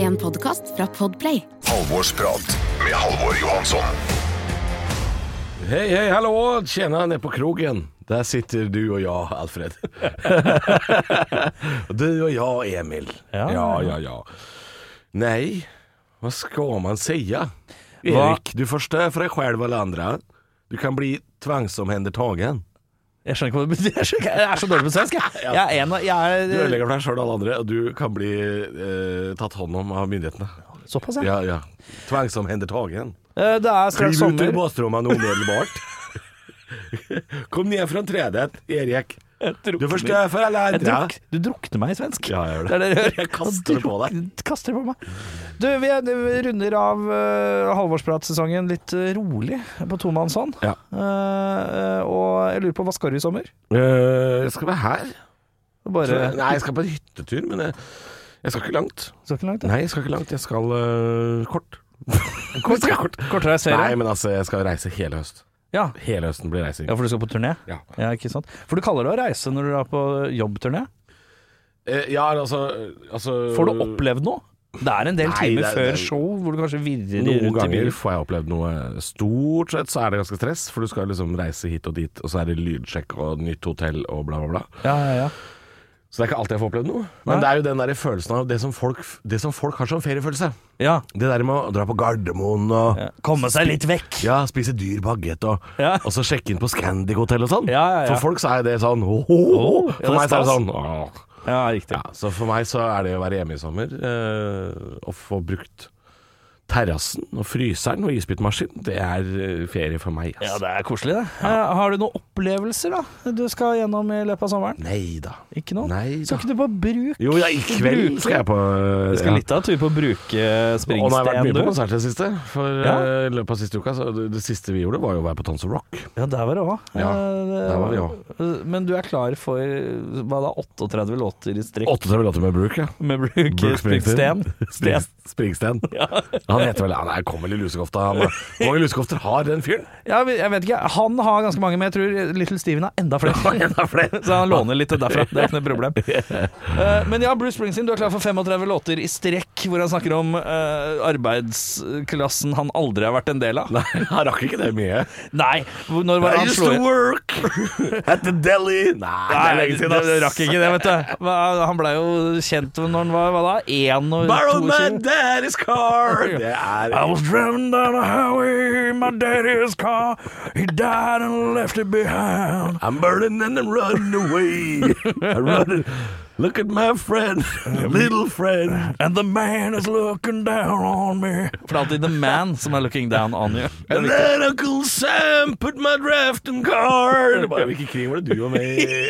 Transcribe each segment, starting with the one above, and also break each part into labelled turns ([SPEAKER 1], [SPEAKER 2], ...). [SPEAKER 1] En podkast fra Podplay.
[SPEAKER 2] Halvorsprat med Halvor Johansson.
[SPEAKER 3] Hei, hei, hallo! Tjena, ned på krogen. Der sitter du og jeg, Alfred. Og du og jeg, Emil.
[SPEAKER 4] Ja.
[SPEAKER 3] ja, ja. ja. Nej, vad ska man säga? Erik,
[SPEAKER 4] Va-
[SPEAKER 3] du förstör för dig själv och alla andra. Du kan bli tvangsomhändertagen.
[SPEAKER 4] Jeg skjønner ikke hva det betyr. Jeg, skjønner ikke- jeg er så dårlig på svensk, jeg. Jeg er en av jeg
[SPEAKER 3] Du
[SPEAKER 4] er,
[SPEAKER 3] ødelegger for deg sjøl og alle andre, og du kan bli eh, tatt hånd om av myndighetene.
[SPEAKER 4] Såpass, ja.
[SPEAKER 3] Ja, ja. Tvangsomhendertagen.
[SPEAKER 4] Eh, Det er
[SPEAKER 3] Kliv
[SPEAKER 4] straks
[SPEAKER 3] ut ur
[SPEAKER 4] sommer.
[SPEAKER 3] badstrommene umiddelbart. Kom ned fra treet, Erik. Du forstør for alle
[SPEAKER 4] Jeg
[SPEAKER 3] andre.
[SPEAKER 4] druk, du drukner meg i svensk.
[SPEAKER 3] Ja, jeg gjør det.
[SPEAKER 4] er du gjør.
[SPEAKER 3] Jeg kaster det på deg.
[SPEAKER 4] Du druk- Kaster det på meg. Du, vi, er, vi runder av uh, halvårspratsesongen litt eh, rolig på tomannshånd.
[SPEAKER 3] Ja.
[SPEAKER 4] Eh, eh, og jeg lurer på, hva skal du i sommer?
[SPEAKER 3] Eh, jeg skal være her. Så,
[SPEAKER 4] Bare
[SPEAKER 3] nei, jeg skal på en hyttetur, men jeg, jeg skal ikke langt.
[SPEAKER 4] Skal ikke langt, da.
[SPEAKER 3] Nei, jeg skal ikke langt. Jeg skal eh, kort. kort, skal kort.
[SPEAKER 4] Kortere serie?
[SPEAKER 3] Nei, men altså, jeg skal reise hele høst.
[SPEAKER 4] Ja.
[SPEAKER 3] Hele høsten blir reising.
[SPEAKER 4] ja, for du skal på turné?
[SPEAKER 3] Ja.
[SPEAKER 4] Ja, ikke sant? For du kaller det å reise når du er på jobbturné.
[SPEAKER 3] Eh, ja, altså, altså
[SPEAKER 4] Får du opplevd noe? Det er en del
[SPEAKER 3] Nei,
[SPEAKER 4] timer
[SPEAKER 3] det er-
[SPEAKER 4] før
[SPEAKER 3] det er-
[SPEAKER 4] show hvor du kanskje virrer
[SPEAKER 3] Noen
[SPEAKER 4] rundt i
[SPEAKER 3] ganger
[SPEAKER 4] bilen.
[SPEAKER 3] får jeg opplevd noe. Stort sett så er det ganske stress, for du skal liksom reise hit og dit, og så er det lydsjekk og nytt hotell og bla, bla, bla.
[SPEAKER 4] Ja, ja, ja.
[SPEAKER 3] Så det er ikke alltid jeg får opplevd noe. Men
[SPEAKER 4] Nei.
[SPEAKER 3] det er jo den der følelsen av det som folk, det som folk har som feriefølelse.
[SPEAKER 4] ja.
[SPEAKER 3] Det der med å dra på Gardermoen og
[SPEAKER 4] ja. Komme seg litt vekk.
[SPEAKER 3] Ja, spise dyr bagett og,
[SPEAKER 4] Ja.
[SPEAKER 3] og så sjekke inn på Scandic hotell og sånn.
[SPEAKER 4] Ja, ja, ja.
[SPEAKER 3] For folk så er det sånn «Åh, åh, åh».
[SPEAKER 4] Ja, det
[SPEAKER 3] For meg
[SPEAKER 4] er
[SPEAKER 3] så er det
[SPEAKER 4] stas.
[SPEAKER 3] sånn «Åh».
[SPEAKER 4] Ja, riktig.
[SPEAKER 3] ja, Så for meg så er det å være hjemme i sommer eh, og få brukt terrassen og fryseren og isbitmaskinen, det er eh, ferie for meg.
[SPEAKER 4] Ja,
[SPEAKER 3] ass.
[SPEAKER 4] det er koselig, det. Eh, Har du noen opplevelser da du skal gjennom i løpet av sommeren?
[SPEAKER 3] Nei da.
[SPEAKER 4] Ikke noe?
[SPEAKER 3] Nei da.
[SPEAKER 4] Skal ikke du på bruk?
[SPEAKER 3] Jo, ja, i kveld
[SPEAKER 4] Bruker.
[SPEAKER 3] skal jeg på
[SPEAKER 4] Vi skal litt av en tur på bruke
[SPEAKER 3] Og nå har
[SPEAKER 4] eh,
[SPEAKER 3] jeg vært
[SPEAKER 4] Springsteen,
[SPEAKER 3] mye på
[SPEAKER 4] du.
[SPEAKER 3] konsert i det siste. For
[SPEAKER 4] Ja.
[SPEAKER 3] eh, i løpet av siste uka så det, det siste vi gjorde, var jo å være på Tons of Rock.
[SPEAKER 4] Ja, der var det òg.
[SPEAKER 3] sånn. Ja, der var vi også.
[SPEAKER 4] Men du er klar for hva da, 38 låter i strekk
[SPEAKER 3] 38 låter med Brooke, ja.
[SPEAKER 4] med Brooke Springsteen? Sten.
[SPEAKER 3] Spring- Springsteen. Han heter vel Han er- kommer vel i lusekofta. han. Hvor mange lusekofter har den fyren?
[SPEAKER 4] Ja, jeg vet ikke. Han har ganske mange, men jeg tror Little Steven har enda flere. Så han låner litt derfra. Det er ikke noe problem. Eh, men ja, Bruce Springsteen, du er klar for 35 låter i strekk hvor han snakker om eh, arbeidsklassen han aldri har vært en del av.
[SPEAKER 3] Nei, han rakk ikke det mye.
[SPEAKER 4] Nei, når var det han slo igjen?
[SPEAKER 3] work at the deli. Nei, det er
[SPEAKER 4] Nei,
[SPEAKER 3] lenge
[SPEAKER 4] det,
[SPEAKER 3] siden,
[SPEAKER 4] det
[SPEAKER 3] ass.
[SPEAKER 4] rakk ikke det, vet du. Hva- Han blei jo kjent når han var hva da? 1 og
[SPEAKER 3] Borrowed my
[SPEAKER 4] 22?
[SPEAKER 3] daddy's car. Det
[SPEAKER 4] I
[SPEAKER 3] er
[SPEAKER 4] was driven down a highway in my daddy's car. He died and left it behind.
[SPEAKER 3] I'm burning and I'm running away. I'm running. Look at my friend, little friend.
[SPEAKER 4] And the man is looking down on me. For det er alltid the man som er looking down on you. Det er
[SPEAKER 3] And
[SPEAKER 4] viktig.
[SPEAKER 3] then Uncle Sam put my drafting car. Det er bare, Hvilken krig var det du var med i?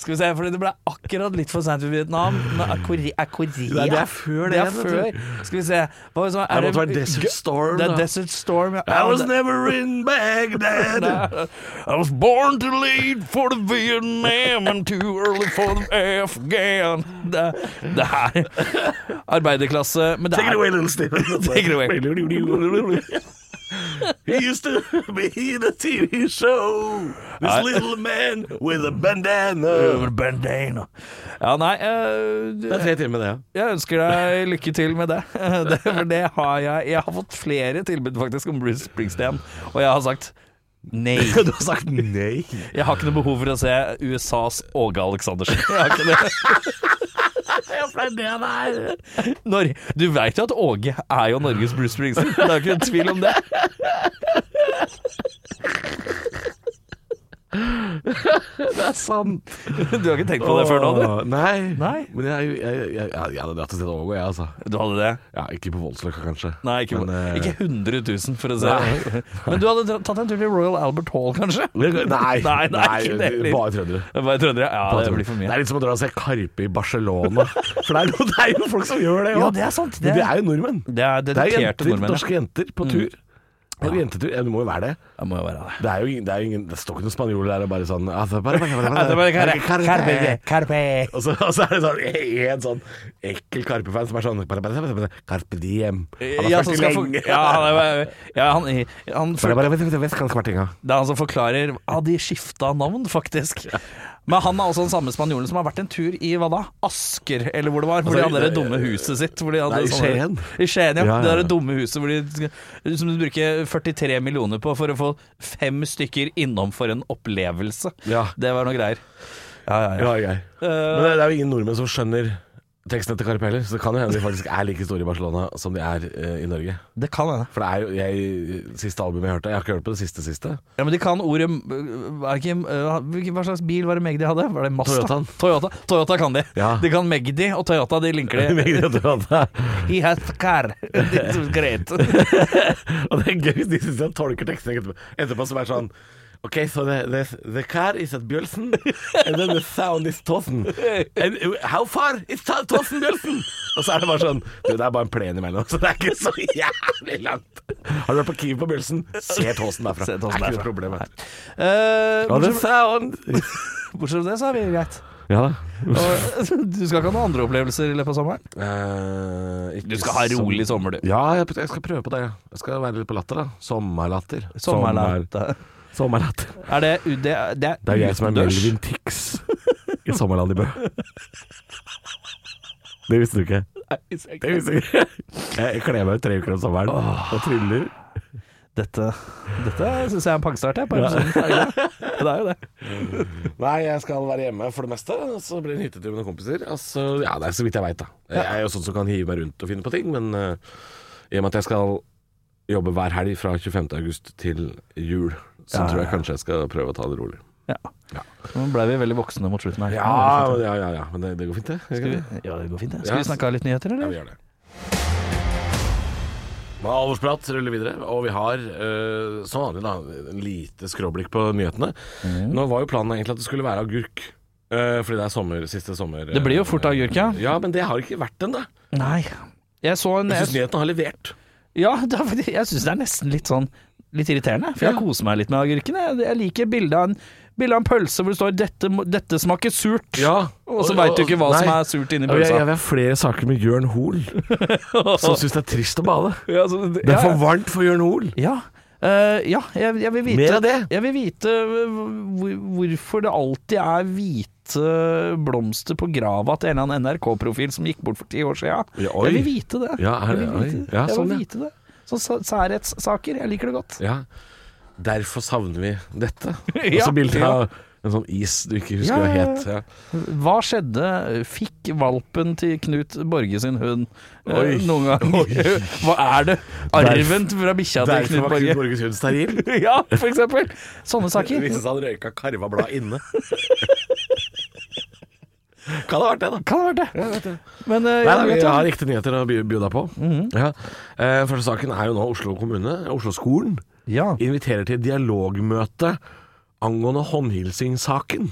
[SPEAKER 4] Skal vi se, for det ble akkurat litt for seint for Vietnam. Men er Korea, er Korea.
[SPEAKER 3] Nei, det er før det,
[SPEAKER 4] Det er
[SPEAKER 3] vet du.
[SPEAKER 4] før. Skal vi se. Hva er det som er
[SPEAKER 3] Det måtte være Desert Storm,
[SPEAKER 4] Det er
[SPEAKER 3] da.
[SPEAKER 4] Desert Storm, ja.
[SPEAKER 3] I was
[SPEAKER 4] Ja, det-
[SPEAKER 3] never in Baghdad.
[SPEAKER 4] I was born to lead for the Vietnam and too early for the Afghan. Det, det er arbeiderklasse, men det
[SPEAKER 3] Take it away,
[SPEAKER 4] er
[SPEAKER 3] little Stephen.
[SPEAKER 4] Take it away.
[SPEAKER 3] He used to be in a TV show. This
[SPEAKER 4] I-
[SPEAKER 3] little man with a bandana.
[SPEAKER 4] Bandana. Ja, nei eh, du-
[SPEAKER 3] tre timer, det.
[SPEAKER 4] Jeg ønsker deg lykke til med det. det for det har jeg. Jeg har fått flere tilbud faktisk om Bruce Springsteen, og jeg har sagt nei.
[SPEAKER 3] Du har sagt nei.
[SPEAKER 4] Jeg har ikke noe behov for å se USAs Åge Aleksandersen. Jeg har ikke det.
[SPEAKER 3] Det er det det er.
[SPEAKER 4] Nor du veit jo at Åge er jo Norges Bruce Springsteen, det er jo ikke noen tvil om det.
[SPEAKER 3] Det er sant.
[SPEAKER 4] Du har ikke tenkt på det før nå, du?
[SPEAKER 3] Åh, Nei.
[SPEAKER 4] Nei.
[SPEAKER 3] Men jeg, er jo- jeg, jeg, jeg, jeg hadde dratt til stedet Ågå, jeg, altså.
[SPEAKER 4] Du hadde det?
[SPEAKER 3] Ja, ikke på Voldsløkka, kanskje.
[SPEAKER 4] Nei, ikke,
[SPEAKER 3] Men, eh,
[SPEAKER 4] ikke 100 000, for å si
[SPEAKER 3] Nei.
[SPEAKER 4] det. Men du hadde dra- tatt en tur til Royal Albert Hall, kanskje?
[SPEAKER 3] Nei, nei,
[SPEAKER 4] Nei, nei, ikke det heller.
[SPEAKER 3] bare trøndere.
[SPEAKER 4] Bare trøndere? Ja, det blir
[SPEAKER 3] Det
[SPEAKER 4] for mye.
[SPEAKER 3] er litt som å dra og se Karpe i Barcelona. For det er, jo, det er jo folk som gjør det
[SPEAKER 4] Ja,
[SPEAKER 3] også.
[SPEAKER 4] det er sant. Det
[SPEAKER 3] Men
[SPEAKER 4] er,
[SPEAKER 3] det er jo nordmenn.
[SPEAKER 4] det er
[SPEAKER 3] Det er
[SPEAKER 4] dedikerte
[SPEAKER 3] jenter,
[SPEAKER 4] nordmenn.
[SPEAKER 3] norske jenter på tur. På jentetur, ja, Det må jo være det.
[SPEAKER 4] Det må jo være det.
[SPEAKER 3] Det, er jo, ingen- det, er jo ingen, det står ikke noen spanjoler der og bare sånn altså, bare, bare, bare,
[SPEAKER 4] Ja, det er bare Karpe.
[SPEAKER 3] Karpe.
[SPEAKER 4] Karpe. Karpe.
[SPEAKER 3] Og så, og så er det sånn en sånn ekkel Karpe-fan som er sånn bare, bare, bare, bare, Carpe diem. Han har
[SPEAKER 4] Ja, som
[SPEAKER 3] ført
[SPEAKER 4] skal for-
[SPEAKER 3] lenge.
[SPEAKER 4] ja, han er, ja, han, han,
[SPEAKER 3] Bare, bare, vet- vet- vet- vet- kan kvartinga.
[SPEAKER 4] det er han som forklarer Ja, de skifta navn, faktisk. Men han er også den samme spanjolen som har vært en tur i hva da? Asker, eller hvor det var. Hvor de
[SPEAKER 3] Altså,
[SPEAKER 4] hadde det
[SPEAKER 3] det-
[SPEAKER 4] dumme huset sitt. Hvor de hadde
[SPEAKER 3] Nei, i
[SPEAKER 4] sånne-
[SPEAKER 3] Skien.
[SPEAKER 4] I Skien, ja.
[SPEAKER 3] Ja, ja,
[SPEAKER 4] Det
[SPEAKER 3] ja.
[SPEAKER 4] der dumme huset hvor de, som du bruker 43 millioner på for å få fem stykker innom for en opplevelse.
[SPEAKER 3] Ja.
[SPEAKER 4] Det var noe greier. Eh, Ja, ja, ja.
[SPEAKER 3] Ja, jeg. Men det, det er jo ingen nordmenn som skjønner tekstene til Carpe heller, så det kan jo hende de faktisk er like store i Barcelona som de er eh, i Norge.
[SPEAKER 4] Det kan hende.
[SPEAKER 3] For det er jo jeg, siste albumet jeg hørte Jeg har ikke hørt på det siste siste.
[SPEAKER 4] Ja, men de kan ordet øh, er ikke, øh, hvilken- Hva slags bil var det Magdi hadde? Var det Mazda?
[SPEAKER 3] Toyotaen.
[SPEAKER 4] Toyota, Toyota kan de.
[SPEAKER 3] Ja.
[SPEAKER 4] De kan Magdi og Toyota, de linker de.
[SPEAKER 3] og
[SPEAKER 4] He has a car. This is great.
[SPEAKER 3] det er gøy hvis de syns jeg tolker tekstene etterpå, etterpå som er sånn Ok, so the, the, the car is at Bjølsen, and then the sound is Tåsen. And uh, how far is Ta- Tåsen Bjølsen? Og så er det bare sånn Du, det er bare en plen imellom, så det er ikke så jævlig langt. Har du vært på Kiwi på Bjølsen? Ser Tåsen derfra.
[SPEAKER 4] Ser
[SPEAKER 3] det er
[SPEAKER 4] Tåsen derfra.
[SPEAKER 3] ikke noe problem. vet du.
[SPEAKER 4] Eh,
[SPEAKER 3] Og the
[SPEAKER 4] bortsett,
[SPEAKER 3] sound
[SPEAKER 4] bortsett fra det, så er vi greit.
[SPEAKER 3] Ja da.
[SPEAKER 4] Og, du skal ikke ha noen andre opplevelser i løpet av sommeren? Du skal ha rolig sommer, du.
[SPEAKER 3] Eh, Ja, jeg, jeg skal prøve på det. Jeg skal være litt på latter, da. Sommerlatter.
[SPEAKER 4] Sommerland.
[SPEAKER 3] Sommer- sommerlatter.
[SPEAKER 4] Er det u- Det, er- det
[SPEAKER 3] Det er jo jeg som er
[SPEAKER 4] utendørs.
[SPEAKER 3] Melvin Tix i Sommerland i Bø. Det visste du ikke. Det visste du ikke. Jeg kler meg ut tre uker om sommeren og tryller.
[SPEAKER 4] Dette, dette syns jeg er en pangstart, jeg. På episoden. Er det ikke det? det er jo det.
[SPEAKER 3] Nei, jeg skal være hjemme for det meste, og så blir det en hyttetur med noen kompiser. Altså, ja, det er så vidt jeg veit, da. Jeg er jo sånn som kan hive meg rundt og finne på ting, men eh, i og med at jeg skal jobbe hver helg fra 25. august til jul, så
[SPEAKER 4] Ja,
[SPEAKER 3] tror
[SPEAKER 4] ja.
[SPEAKER 3] jeg kanskje jeg skal prøve å ta det rolig.
[SPEAKER 4] Ja. Nå ble vi veldig voksne mot slutten her.
[SPEAKER 3] Ja, ja, ja, ja. men det, det går fint, det.
[SPEAKER 4] Skal vi, ja, det går fint, det. Skal
[SPEAKER 3] Ja.
[SPEAKER 4] vi snakke av litt nyheter,
[SPEAKER 3] Ja,
[SPEAKER 4] eller?
[SPEAKER 3] vi gjør det. Men alvorsprat ruller videre, og vi har eh, som vanlig da, en lite skråblikk på nyhetene.
[SPEAKER 4] Mm.
[SPEAKER 3] Nå var jo planen egentlig at det skulle være agurk, eh, fordi det er sommer, siste sommer. eh,
[SPEAKER 4] Det blir jo fort agurk, ja.
[SPEAKER 3] Ja, men det har ikke vært ennå.
[SPEAKER 4] Nei. Jeg så en
[SPEAKER 3] Jeg syns
[SPEAKER 4] jeg,
[SPEAKER 3] nyhetene har levert.
[SPEAKER 4] Ja, det er fordi- jeg syns det er nesten litt sånn Litt irriterende, for jeg
[SPEAKER 3] Ja.
[SPEAKER 4] koser meg litt med agurkene. Jeg, jeg liker bildet av, en- bildet av en pølse hvor det står 'dette, må- 'dette smaker surt'. Og så veit du ikke hva
[SPEAKER 3] Nei.
[SPEAKER 4] som er surt inni
[SPEAKER 3] Og Jeg, jeg
[SPEAKER 4] pølsa.
[SPEAKER 3] vil ha flere saker med Jørn Hoel, som syns det er trist å bade.
[SPEAKER 4] Ja, så
[SPEAKER 3] Det
[SPEAKER 4] det-
[SPEAKER 3] er
[SPEAKER 4] ja,
[SPEAKER 3] for varmt for Jørn Hoel.
[SPEAKER 4] ja. Eh, ja, jeg, jeg vil vite
[SPEAKER 3] Mer av det.
[SPEAKER 4] Jeg vil vite hvor, hvorfor det alltid er hvite blomster på grava til en eller annen NRK-profil som gikk bort for ti år siden.
[SPEAKER 3] Ja, oi.
[SPEAKER 4] jeg vil vite det.
[SPEAKER 3] Ja, er
[SPEAKER 4] jeg
[SPEAKER 3] det-
[SPEAKER 4] vil vite
[SPEAKER 3] oi.
[SPEAKER 4] det.
[SPEAKER 3] Ja,
[SPEAKER 4] jeg
[SPEAKER 3] sånn, ja.
[SPEAKER 4] vil vite det. Så sa- særhetssaker. Jeg liker det godt.
[SPEAKER 3] Ja. Derfor savner vi dette. Og
[SPEAKER 4] Ja.
[SPEAKER 3] så bildet
[SPEAKER 4] Ja.
[SPEAKER 3] av en sånn is du ikke husker
[SPEAKER 4] Ja,
[SPEAKER 3] hva
[SPEAKER 4] ja,
[SPEAKER 3] het. Ja.
[SPEAKER 4] Hva skjedde? Fikk valpen til Knut Borge sin hund eh,
[SPEAKER 3] Oi.
[SPEAKER 4] noen gang? Hva er det? Arven fra bikkja til Knut Borge?
[SPEAKER 3] Borges hund steril.
[SPEAKER 4] ja, for eksempel. Sånne saker.
[SPEAKER 3] Hvis han røyka karva blad inne. kan ha vært det, da.
[SPEAKER 4] Kan ha vært det. Men eh,
[SPEAKER 3] Nei,
[SPEAKER 4] ja,
[SPEAKER 3] nei, vi
[SPEAKER 4] vet du hva? Mhm.
[SPEAKER 3] har riktige nyheter å by by deg på. ja. eh, første saken er jo nå Oslo kommune. Oslo-skolen
[SPEAKER 4] ja.
[SPEAKER 3] inviterer til dialogmøte angående håndhilsingssaken.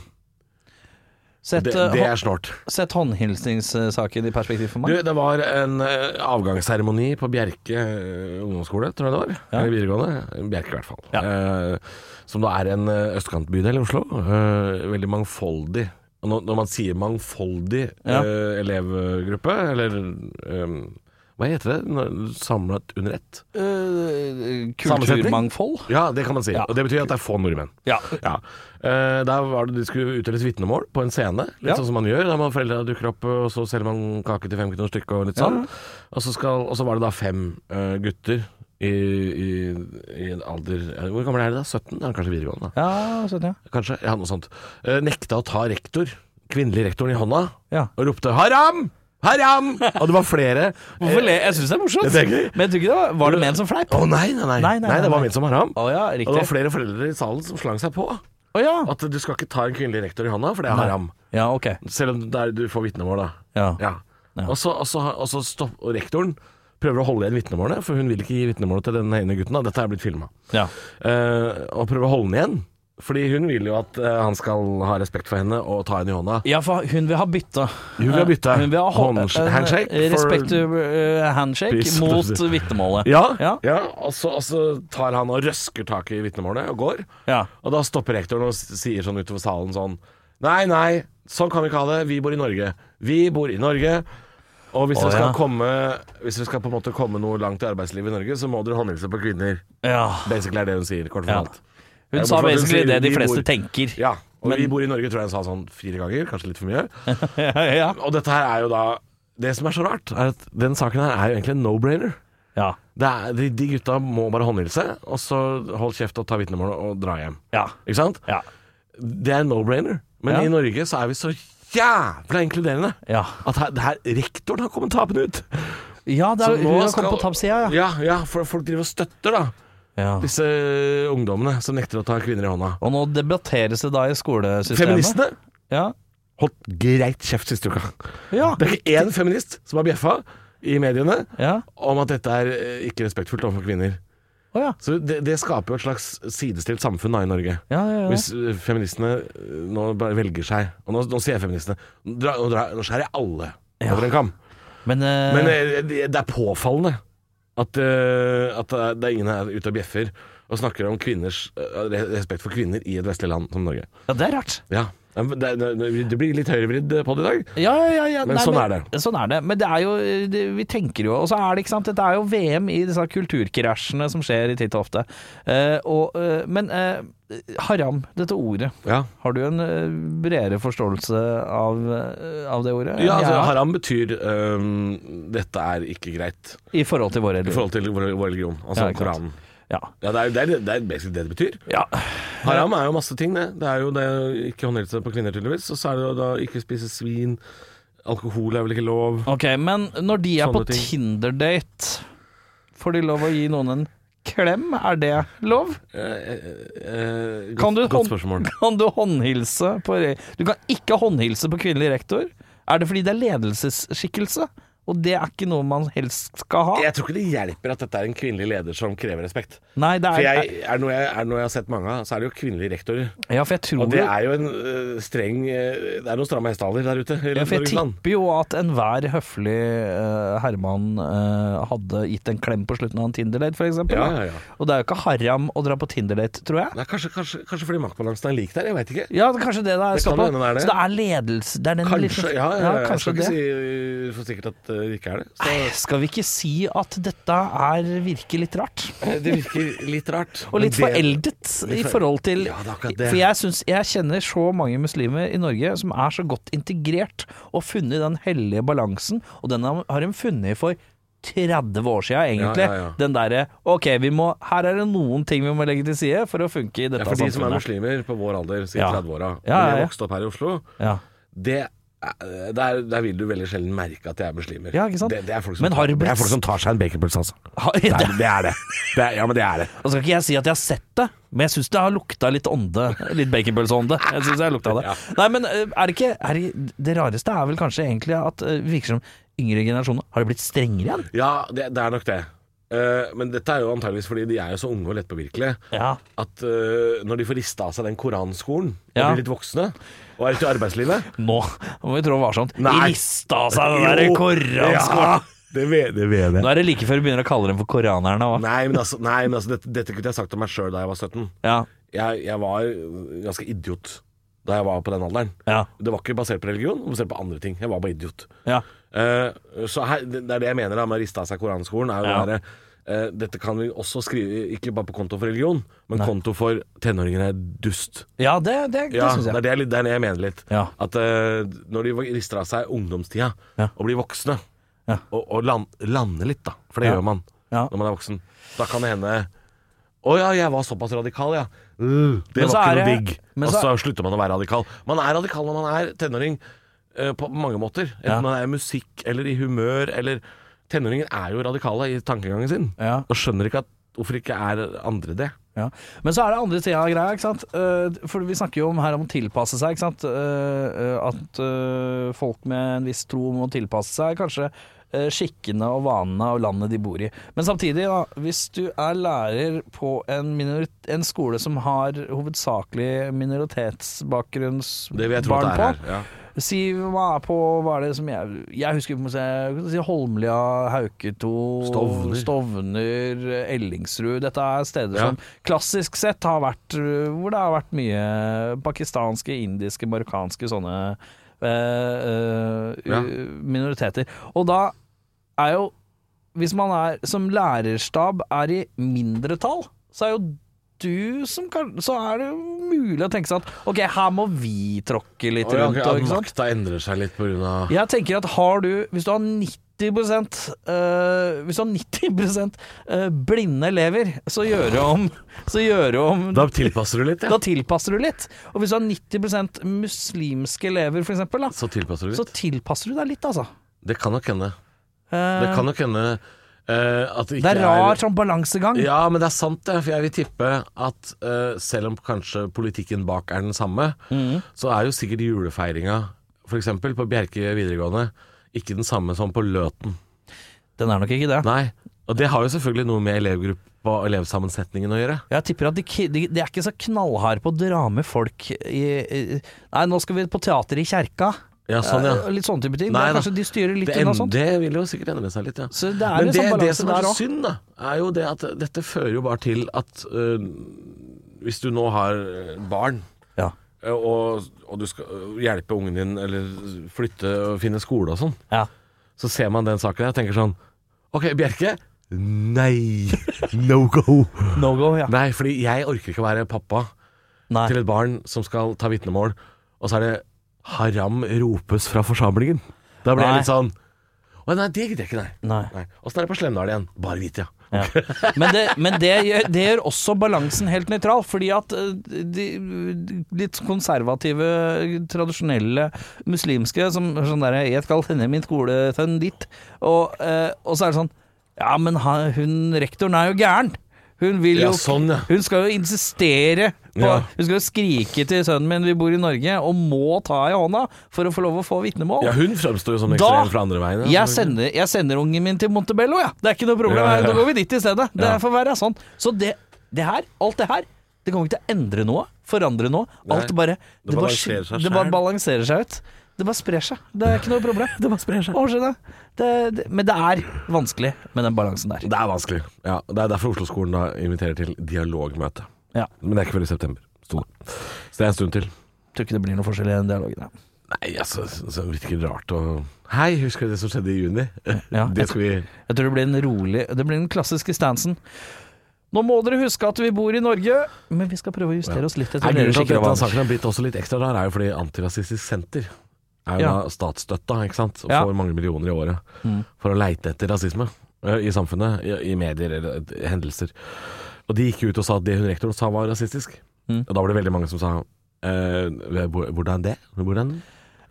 [SPEAKER 4] Sett,
[SPEAKER 3] Det,
[SPEAKER 4] eh,
[SPEAKER 3] det
[SPEAKER 4] hå-
[SPEAKER 3] er snort.
[SPEAKER 4] Sett håndhilsningssaken i perspektiv for
[SPEAKER 3] Du,
[SPEAKER 4] meg.
[SPEAKER 3] det var en eh, avgangsseremoni på Bjerke eh, ungdomsskole, tror jeg det var.
[SPEAKER 4] Ja.
[SPEAKER 3] Eller videregående. Bjerke, i hvert fall.
[SPEAKER 4] Ja.
[SPEAKER 3] Eh, som da er en eh, østkantbydel i Oslo. Eh, veldig mangfoldig. Og når, når man sier mangfoldig
[SPEAKER 4] Ja.
[SPEAKER 3] eh, elevgruppe, eller eh, hva heter det? Når- Samlet under ett?
[SPEAKER 4] Eh, kulturmangfold?
[SPEAKER 3] Ja, det kan man si.
[SPEAKER 4] Ja.
[SPEAKER 3] Og det betyr at det er få nordmenn.
[SPEAKER 4] Ja.
[SPEAKER 3] Ja. Eh, der var det de skulle utdeles vitnemål på en scene, litt
[SPEAKER 4] Ja.
[SPEAKER 3] sånn som man gjør. Der man foreldra dukker opp, og så selger man kake til fem kroner stykket og litt
[SPEAKER 4] Ja.
[SPEAKER 3] sånn. Og, så skal, og så var det da fem eh, gutter i, i, i en alder eh, Hvor gammel er de da? 17? Ja, kanskje videregående, da.
[SPEAKER 4] Ja, sånn, ja.
[SPEAKER 3] Kanskje? Ja, noe sånt. Eh, nekta å ta rektor, kvinnelig rektoren, i hånda,
[SPEAKER 4] Ja.
[SPEAKER 3] og ropte 'haram! Haram!' Og det var flere.
[SPEAKER 4] Hvorfor le? Jeg syns det er morsomt.
[SPEAKER 3] Det er gøy.
[SPEAKER 4] Men jeg tror ikke det var, var det ment som fleip.
[SPEAKER 3] Eh, Å nei, nei, nei,
[SPEAKER 4] Nei, nei, nei,
[SPEAKER 3] det var
[SPEAKER 4] nei.
[SPEAKER 3] ment som haram.
[SPEAKER 4] Å ja,
[SPEAKER 3] og det
[SPEAKER 4] riktig.
[SPEAKER 3] var flere foreldre i salen som slang seg på.
[SPEAKER 4] Å ja.
[SPEAKER 3] At du skal ikke ta en kvinnelig rektor i hånda, for det er haram.
[SPEAKER 4] ja, ok.
[SPEAKER 3] Selv om det er, du får vitnemål, da.
[SPEAKER 4] Ja.
[SPEAKER 3] Ja. Og så, og så, og så stopp, og rektoren prøver å holde igjen vitnemålet, for hun vil ikke gi vitnemålet til den ene gutten. Da. Dette er blitt filma.
[SPEAKER 4] Ja.
[SPEAKER 3] og prøver å holde den igjen, fordi hun vil jo at eh, han skal ha respekt for henne og ta henne i hånda.
[SPEAKER 4] ja, for hun vil ha bytta.
[SPEAKER 3] Hun vil ha bytte.
[SPEAKER 4] Hun vil ha hå-
[SPEAKER 3] Hånds-
[SPEAKER 4] en
[SPEAKER 3] handshake for-
[SPEAKER 4] Respekt to eh, handshake
[SPEAKER 3] Peace.
[SPEAKER 4] mot vitnemålet.
[SPEAKER 3] Ja, ja.
[SPEAKER 4] Ja.
[SPEAKER 3] og, så, og så tar han og røsker tak i vitnemålet og går.
[SPEAKER 4] Ja.
[SPEAKER 3] Og da stopper rektoren og s- sier sånn utover salen sånn Nei, nei, sånn kan vi ikke ha det. Vi bor i Norge. Vi bor i Norge. Og hvis,
[SPEAKER 4] Å,
[SPEAKER 3] dere, skal
[SPEAKER 4] ja.
[SPEAKER 3] komme, hvis dere skal på en måte komme noe langt i arbeidslivet i Norge, så må dere håndhilse på kvinner.
[SPEAKER 4] ja.
[SPEAKER 3] Basically er det hun sier, kort
[SPEAKER 4] Ja.
[SPEAKER 3] fortalt.
[SPEAKER 4] Hun
[SPEAKER 3] Jeg
[SPEAKER 4] sa
[SPEAKER 3] må få lov til å
[SPEAKER 4] basically
[SPEAKER 3] si
[SPEAKER 4] det de
[SPEAKER 3] vi bor-
[SPEAKER 4] fleste tenker.
[SPEAKER 3] Ja. Og vi bor i Norge, tror jeg han sa sånn fire ganger, kanskje litt for mye.
[SPEAKER 4] ja, ja.
[SPEAKER 3] Og dette her er jo da Det som er så rart, er at den saken her er jo egentlig en no-brainer.
[SPEAKER 4] ja.
[SPEAKER 3] Det er, de, de gutta må bare håndhilse, og så hold kjeft og ta vitnemål og dra hjem.
[SPEAKER 4] Ja.
[SPEAKER 3] Ikke sant?
[SPEAKER 4] Ja.
[SPEAKER 3] Det er en no-brainer. Men
[SPEAKER 4] Ja.
[SPEAKER 3] i Norge så er vi så jævla inkluderende
[SPEAKER 4] Ja.
[SPEAKER 3] at her, det her, rektoren har kommet tapende ut.
[SPEAKER 4] ja det
[SPEAKER 3] Så
[SPEAKER 4] er,
[SPEAKER 3] nå
[SPEAKER 4] vi har
[SPEAKER 3] skal-
[SPEAKER 4] kommet på tappsida, ja.
[SPEAKER 3] Ja, ja, for folk driver og støtter, da.
[SPEAKER 4] ja.
[SPEAKER 3] Disse ungdommene som nekter å ta kvinner i hånda.
[SPEAKER 4] Og nå debatteres det da i skolesystemet.
[SPEAKER 3] Feministene
[SPEAKER 4] Ja.
[SPEAKER 3] holdt greit kjeft siste uka.
[SPEAKER 4] Ja.
[SPEAKER 3] Det er ikke én feminist som har bjeffa i mediene
[SPEAKER 4] ja.
[SPEAKER 3] om at dette er eh, ikke respektfullt overfor kvinner.
[SPEAKER 4] Å ja.
[SPEAKER 3] Så det, det skaper jo et slags sidestilt samfunn da i Norge.
[SPEAKER 4] Ja, ja, ja.
[SPEAKER 3] Hvis eh, feministene eh, nå bare velger seg Og nå, nå sier jeg feministene dra, nå, dra, nå skjærer jeg alle
[SPEAKER 4] Ja.
[SPEAKER 3] over en kam.
[SPEAKER 4] Men, eh,
[SPEAKER 3] Men eh, det, det er påfallende at, eh, at det er- det er ingen her ute og bjeffer og snakker om kvinners eh, re- respekt for kvinner i et vestlig land som Norge.
[SPEAKER 4] ja, det er rart.
[SPEAKER 3] Ja. Det, det, det blir litt høyrevridd på det i dag.
[SPEAKER 4] Ja, ja, ja, ja.
[SPEAKER 3] Men sånn er
[SPEAKER 4] Sånn er det. Men det er jo det, Vi tenker jo Og så er det ikke sant Dette er jo VM i disse kulturkrasjene som skjer i titt og ofte. Eh, og, eh, men eh, haram, dette ordet.
[SPEAKER 3] Ja,
[SPEAKER 4] Har du en eh, bredere forståelse av, eh, av det ordet?
[SPEAKER 3] ja altså,
[SPEAKER 4] Jeg har,
[SPEAKER 3] haram betyr eh, 'dette er ikke greit'
[SPEAKER 4] I forhold til vår
[SPEAKER 3] i
[SPEAKER 4] religion.
[SPEAKER 3] forhold til vår, vår religion, altså
[SPEAKER 4] Ja, ikke sant.
[SPEAKER 3] Koranen.
[SPEAKER 4] Ja.
[SPEAKER 3] Ja, det er, jo- det, er, det er basically det det betyr.
[SPEAKER 4] ja.
[SPEAKER 3] Haram er jo masse ting, det. Det er jo det å ikke håndhilse på kvinner, tydeligvis. Og så er det jo da ikke spise svin. Alkohol er vel ikke lov.
[SPEAKER 4] Ok, men når de er
[SPEAKER 3] Sånne
[SPEAKER 4] på
[SPEAKER 3] ting.
[SPEAKER 4] Tinder-date, får de lov å gi noen en klem? Er det lov?
[SPEAKER 3] Eh, eh, eh,
[SPEAKER 4] Kan du
[SPEAKER 3] godt, godt
[SPEAKER 4] hånd-
[SPEAKER 3] spørsmål.
[SPEAKER 4] Kan du håndhilse på re Du kan ikke håndhilse på kvinnelig rektor. Er det fordi det er ledelsesskikkelse? Og det er ikke noe man helst skal ha?
[SPEAKER 3] Jeg tror ikke det hjelper at dette er en kvinnelig leder som krever respekt.
[SPEAKER 4] Nei, det
[SPEAKER 3] For
[SPEAKER 4] er,
[SPEAKER 3] jeg, er det noe jeg, er det noe jeg har sett mange av, så er det jo kvinnelige rektorer.
[SPEAKER 4] Ja, for jeg tror
[SPEAKER 3] Og det er jo en eh, streng eh, Det er noen stramme hestehaler der ute. i
[SPEAKER 4] ja, for jeg
[SPEAKER 3] Norges land.
[SPEAKER 4] tipper jo at enhver høflig eh, herremann eh, hadde gitt en klem på slutten av en Tinder-date, f.eks.
[SPEAKER 3] Ja, ja, ja.
[SPEAKER 4] Og det er jo ikke haram å dra på Tinder-date, tror jeg.
[SPEAKER 3] Nei, kanskje, kanskje, kanskje fordi maktbalansen er lik der, jeg veit ikke.
[SPEAKER 4] Ja, det- kanskje det det
[SPEAKER 3] Det
[SPEAKER 4] er
[SPEAKER 3] kan
[SPEAKER 4] står på.
[SPEAKER 3] hende det er det.
[SPEAKER 4] Så det er ledelse det er den
[SPEAKER 3] Kanskje,
[SPEAKER 4] lille-
[SPEAKER 3] ja, ja, ja, jeg
[SPEAKER 4] kanskje
[SPEAKER 3] skal
[SPEAKER 4] det.
[SPEAKER 3] ikke si eh, for sikkert at eh, det ikke er det. Så
[SPEAKER 4] Nei, skal vi ikke si at dette er, virker litt rart?
[SPEAKER 3] eh, det virker litt rart.
[SPEAKER 4] Og litt
[SPEAKER 3] Men det-
[SPEAKER 4] foreldet i
[SPEAKER 3] for-
[SPEAKER 4] forhold til
[SPEAKER 3] Ja, det er akkurat det.
[SPEAKER 4] For jeg, synes, jeg kjenner så mange muslimer i Norge som er så godt integrert og funnet den hellige balansen, og den har de funnet for 30 år siden, egentlig.
[SPEAKER 3] Ja, ja, ja.
[SPEAKER 4] Den derre OK, vi må, her er det noen ting vi må legge til side for å funke i dette
[SPEAKER 3] Ja, for de som er
[SPEAKER 4] samfunnet.
[SPEAKER 3] muslimer på vår alder, siden
[SPEAKER 4] Ja.
[SPEAKER 3] 30-åra,
[SPEAKER 4] Ja, ja,
[SPEAKER 3] når
[SPEAKER 4] ja.
[SPEAKER 3] jeg vokste opp her i Oslo,
[SPEAKER 4] ja.
[SPEAKER 3] det er- der, der vil du veldig sjelden merke at jeg er muslimer.
[SPEAKER 4] Ja, ikke sant?
[SPEAKER 3] Det, det, er folk som
[SPEAKER 4] Men har
[SPEAKER 3] tar, det
[SPEAKER 4] blitt-
[SPEAKER 3] er folk som tar seg en baconpølse, altså.
[SPEAKER 4] Ha-
[SPEAKER 3] Det er det. Er det. det er, ja, men det er det.
[SPEAKER 4] Nå skal ikke jeg si at jeg har sett det, men jeg syns det har lukta litt ånde. Litt baconpølseånde. Jeg synes jeg har lukta det. Nei, men eh, er det ikke er det, det rareste er vel kanskje egentlig at eh, det virker som yngre generasjoner har det blitt strengere igjen?
[SPEAKER 3] Ja, det, det er nok det. Eh, men dette er jo antageligvis fordi de er jo så unge og lettpåvirkelige
[SPEAKER 4] Ja.
[SPEAKER 3] at eh, når de får rista av seg den koranskolen og
[SPEAKER 4] Ja.
[SPEAKER 3] blir litt voksne og er ute i arbeidslivet
[SPEAKER 4] Nå må vi trå varsomt.
[SPEAKER 3] Nei.
[SPEAKER 4] Rista av seg den der
[SPEAKER 3] Jo.
[SPEAKER 4] koranskolen.
[SPEAKER 3] Ja, det vet det vet jeg.
[SPEAKER 4] Nå er det like før vi begynner å kalle dem for koranerne òg.
[SPEAKER 3] Nei, men altså, nei, men altså dette, dette kunne jeg sagt om meg sjøl da jeg var 17.
[SPEAKER 4] Ja,
[SPEAKER 3] jeg, jeg var ganske idiot da jeg var på den alderen.
[SPEAKER 4] ja,
[SPEAKER 3] Det var ikke basert på religion, det var basert på andre ting. Jeg var bare idiot.
[SPEAKER 4] ja.
[SPEAKER 3] Eh, så her, det det er det jeg mener da, med å riste av seg koranskolen. Er jo
[SPEAKER 4] Ja.
[SPEAKER 3] det derre, eh, dette kan vi også skrive, ikke bare på konto for religion, men konto for tenåringene er dust.
[SPEAKER 4] ja det, det, det
[SPEAKER 3] Ja,
[SPEAKER 4] syns
[SPEAKER 3] det,
[SPEAKER 4] jeg.
[SPEAKER 3] er det, jeg litt- det er det jeg mener litt.
[SPEAKER 4] Ja.
[SPEAKER 3] At eh, når de rister av seg ungdomstida
[SPEAKER 4] Ja.
[SPEAKER 3] og blir voksne,
[SPEAKER 4] Ja.
[SPEAKER 3] og, og land, lander litt, da. For det
[SPEAKER 4] Ja.
[SPEAKER 3] gjør man
[SPEAKER 4] Ja.
[SPEAKER 3] når man er voksen. Da kan det hende å ja, jeg var såpass radikal, ja. Uh, det
[SPEAKER 4] Men så
[SPEAKER 3] var ikke noe
[SPEAKER 4] er det-
[SPEAKER 3] digg.
[SPEAKER 4] men
[SPEAKER 3] Og
[SPEAKER 4] så-
[SPEAKER 3] så slutter man å være radikal. Man er radikal når man er tenåring eh, på mange måter. Enten
[SPEAKER 4] Ja.
[SPEAKER 3] man er i musikk eller i humør eller Tenåringer er jo radikale i tankegangen sin.
[SPEAKER 4] Ja.
[SPEAKER 3] Og skjønner ikke at, hvorfor ikke er andre det.
[SPEAKER 4] Ja. Men så er det andre sida av greia, ikke sant. Eh, For vi snakker jo om her om å tilpasse seg, ikke sant. Eh, eh, At eh, folk med en viss tro må tilpasse seg kanskje eh, skikkene og vanene og landet de bor i. Men samtidig, da, hvis du er lærer på en, minorit en skole som har hovedsakelig minoritetsbakgrunnsbarn
[SPEAKER 3] Det vil jeg tro at det
[SPEAKER 4] på
[SPEAKER 3] er her. Ja.
[SPEAKER 4] Si hva er på Hva er det som jeg Jeg husker på seg, si Holmlia, Hauketo
[SPEAKER 3] Stovner.
[SPEAKER 4] Stovner, Ellingsrud Dette er steder
[SPEAKER 3] Ja.
[SPEAKER 4] som klassisk sett har vært øh, Hvor det har vært mye pakistanske, indiske, marokkanske sånne øh, øh,
[SPEAKER 3] Ja.
[SPEAKER 4] minoriteter. Og da er jo Hvis man er som lærerstab er i mindretall, så er jo du som kan Så er det jo mulig å tenke seg at ok, her må vi tråkke litt
[SPEAKER 3] Å, ja,
[SPEAKER 4] rundt.
[SPEAKER 3] ok,
[SPEAKER 4] og-
[SPEAKER 3] at
[SPEAKER 4] ikke sant?
[SPEAKER 3] makta endrer seg litt pga.
[SPEAKER 4] Jeg tenker at har du Hvis du har 90 eh, hvis du har 90 eh, blinde elever, så gjør du om, så gjør du om
[SPEAKER 3] Da tilpasser du litt,
[SPEAKER 4] da
[SPEAKER 3] ja.
[SPEAKER 4] tilpasser du litt. Og hvis du har 90 muslimske elever, for eksempel, da,
[SPEAKER 3] Så tilpasser du
[SPEAKER 4] så
[SPEAKER 3] litt.
[SPEAKER 4] tilpasser du deg litt, altså.
[SPEAKER 3] Det kan nok hende.
[SPEAKER 4] Eh,
[SPEAKER 3] Det kan nok hende eh, at det ikke
[SPEAKER 4] det er rar sånn balansegang.
[SPEAKER 3] Ja, men det er sant det. For jeg vil tippe at eh, selv om kanskje politikken bak er den samme,
[SPEAKER 4] Mm.
[SPEAKER 3] så er jo sikkert julefeiringa f.eks. på Bjerke videregående ikke den samme som på Løten.
[SPEAKER 4] Den er nok ikke det.
[SPEAKER 3] Nei. Og det har jo selvfølgelig noe med elevgruppe og elevsammensetningen å gjøre.
[SPEAKER 4] Jeg tipper at de, ki- de, de er ikke så knallharde på å dra med folk i, i Nei, nå skal vi på teater i kjerka.
[SPEAKER 3] Ja, sånn, ja.
[SPEAKER 4] Eh, Litt sånne type ting.
[SPEAKER 3] Nei
[SPEAKER 4] det er
[SPEAKER 3] da.
[SPEAKER 4] kanskje de styrer litt
[SPEAKER 3] Det,
[SPEAKER 4] unna
[SPEAKER 3] en-
[SPEAKER 4] sånt.
[SPEAKER 3] det vil jo sikkert endre seg litt, ja.
[SPEAKER 4] Så det er
[SPEAKER 3] Men det,
[SPEAKER 4] en sånn
[SPEAKER 3] det
[SPEAKER 4] balanse
[SPEAKER 3] som er
[SPEAKER 4] der
[SPEAKER 3] så
[SPEAKER 4] òg.
[SPEAKER 3] synd, da, er jo det at dette fører jo bare til at øh, hvis du nå har øh, barn
[SPEAKER 4] Ja.
[SPEAKER 3] øh, og, og du skal øh, hjelpe ungen din eller flytte og finne skole og sånn,
[SPEAKER 4] Ja.
[SPEAKER 3] så ser man den saken der og tenker sånn OK, Bjerke. Nei. No go.
[SPEAKER 4] No go, ja.
[SPEAKER 3] Nei, fordi jeg orker ikke å være pappa
[SPEAKER 4] Nei.
[SPEAKER 3] til et barn som skal ta vitnemål, og så er det haram ropes fra forsamlingen. Da blir
[SPEAKER 4] Nei.
[SPEAKER 3] jeg litt sånn Å nei, det gidder jeg ikke, nei.
[SPEAKER 4] Nei.
[SPEAKER 3] nei. Åssen er det på Slemdal igjen? Bare hvite, ja.
[SPEAKER 4] Ja. Men, det, men det, gjør, det gjør også balansen helt nøytral, fordi at eh, de, de litt konservative, tradisjonelle muslimske som er sånn derre 'Jeg skal sende min skoletønn dit', og, eh, og så er det sånn 'Ja, men han, hun rektoren er jo gæren'. Hun vil
[SPEAKER 3] Ja,
[SPEAKER 4] jo
[SPEAKER 3] sånn, ja.
[SPEAKER 4] Hun skal jo insistere på
[SPEAKER 3] Ja.
[SPEAKER 4] Hun skal jo skrike til sønnen min 'Vi bor i Norge', og må ta i hånda for å få lov å få vitnemål.
[SPEAKER 3] Ja, hun fremstår jo som
[SPEAKER 4] Da-
[SPEAKER 3] ekstrem fra andre veien. ja.
[SPEAKER 4] Jeg sender, jeg sender ungen min til Montebello, ja. Det er ikke noe problem.
[SPEAKER 3] Ja, ja, ja.
[SPEAKER 4] Nå går vi dit i stedet. Det
[SPEAKER 3] Ja.
[SPEAKER 4] får være sånn. Så det, det her, alt det her, det kommer ikke til å endre noe, forandre noe. Alt
[SPEAKER 3] Nei.
[SPEAKER 4] bare
[SPEAKER 3] Det
[SPEAKER 4] bare,
[SPEAKER 3] balanserer seg
[SPEAKER 4] det bare
[SPEAKER 3] selv.
[SPEAKER 4] balanserer seg ut. Det bare sprer seg. Det er ikke noe problem. det bare sprer seg. Det, det, men det er vanskelig med den balansen der.
[SPEAKER 3] Det er vanskelig. Ja, det er derfor Oslo-skolen da inviterer til dialogmøte.
[SPEAKER 4] Ja.
[SPEAKER 3] Men det er ikke før i september. Sto det. Så det er en stund til.
[SPEAKER 4] Tror ikke det blir noe forskjell i den dialogen. ja.
[SPEAKER 3] Nei, altså, så så virker det rart å Hei, husker du det som skjedde i juni?
[SPEAKER 4] Ja,
[SPEAKER 3] det skal vi
[SPEAKER 4] Jeg tror det blir en rolig Det blir den klassiske stansen. Nå må dere huske at vi bor i Norge, men vi skal prøve å justere oss litt
[SPEAKER 3] Nei,
[SPEAKER 4] etter
[SPEAKER 3] Grunnen
[SPEAKER 4] deres
[SPEAKER 3] til at
[SPEAKER 4] skikker og
[SPEAKER 3] denne
[SPEAKER 4] vaner.
[SPEAKER 3] saken har blitt også litt ekstra rar, er jo fordi Antirasistisk Senter er jo
[SPEAKER 4] Ja.
[SPEAKER 3] da statsstøtta, ikke sant, og
[SPEAKER 4] Ja.
[SPEAKER 3] får mange millioner i året for å leite etter rasisme ø, i samfunnet, i, i medier eller ø, hendelser. Og de gikk jo ut og sa at det hun rektoren sa var rasistisk.
[SPEAKER 4] Mm.
[SPEAKER 3] Og da var det veldig mange som sa ø, hvor- hvordan det? Hvordan?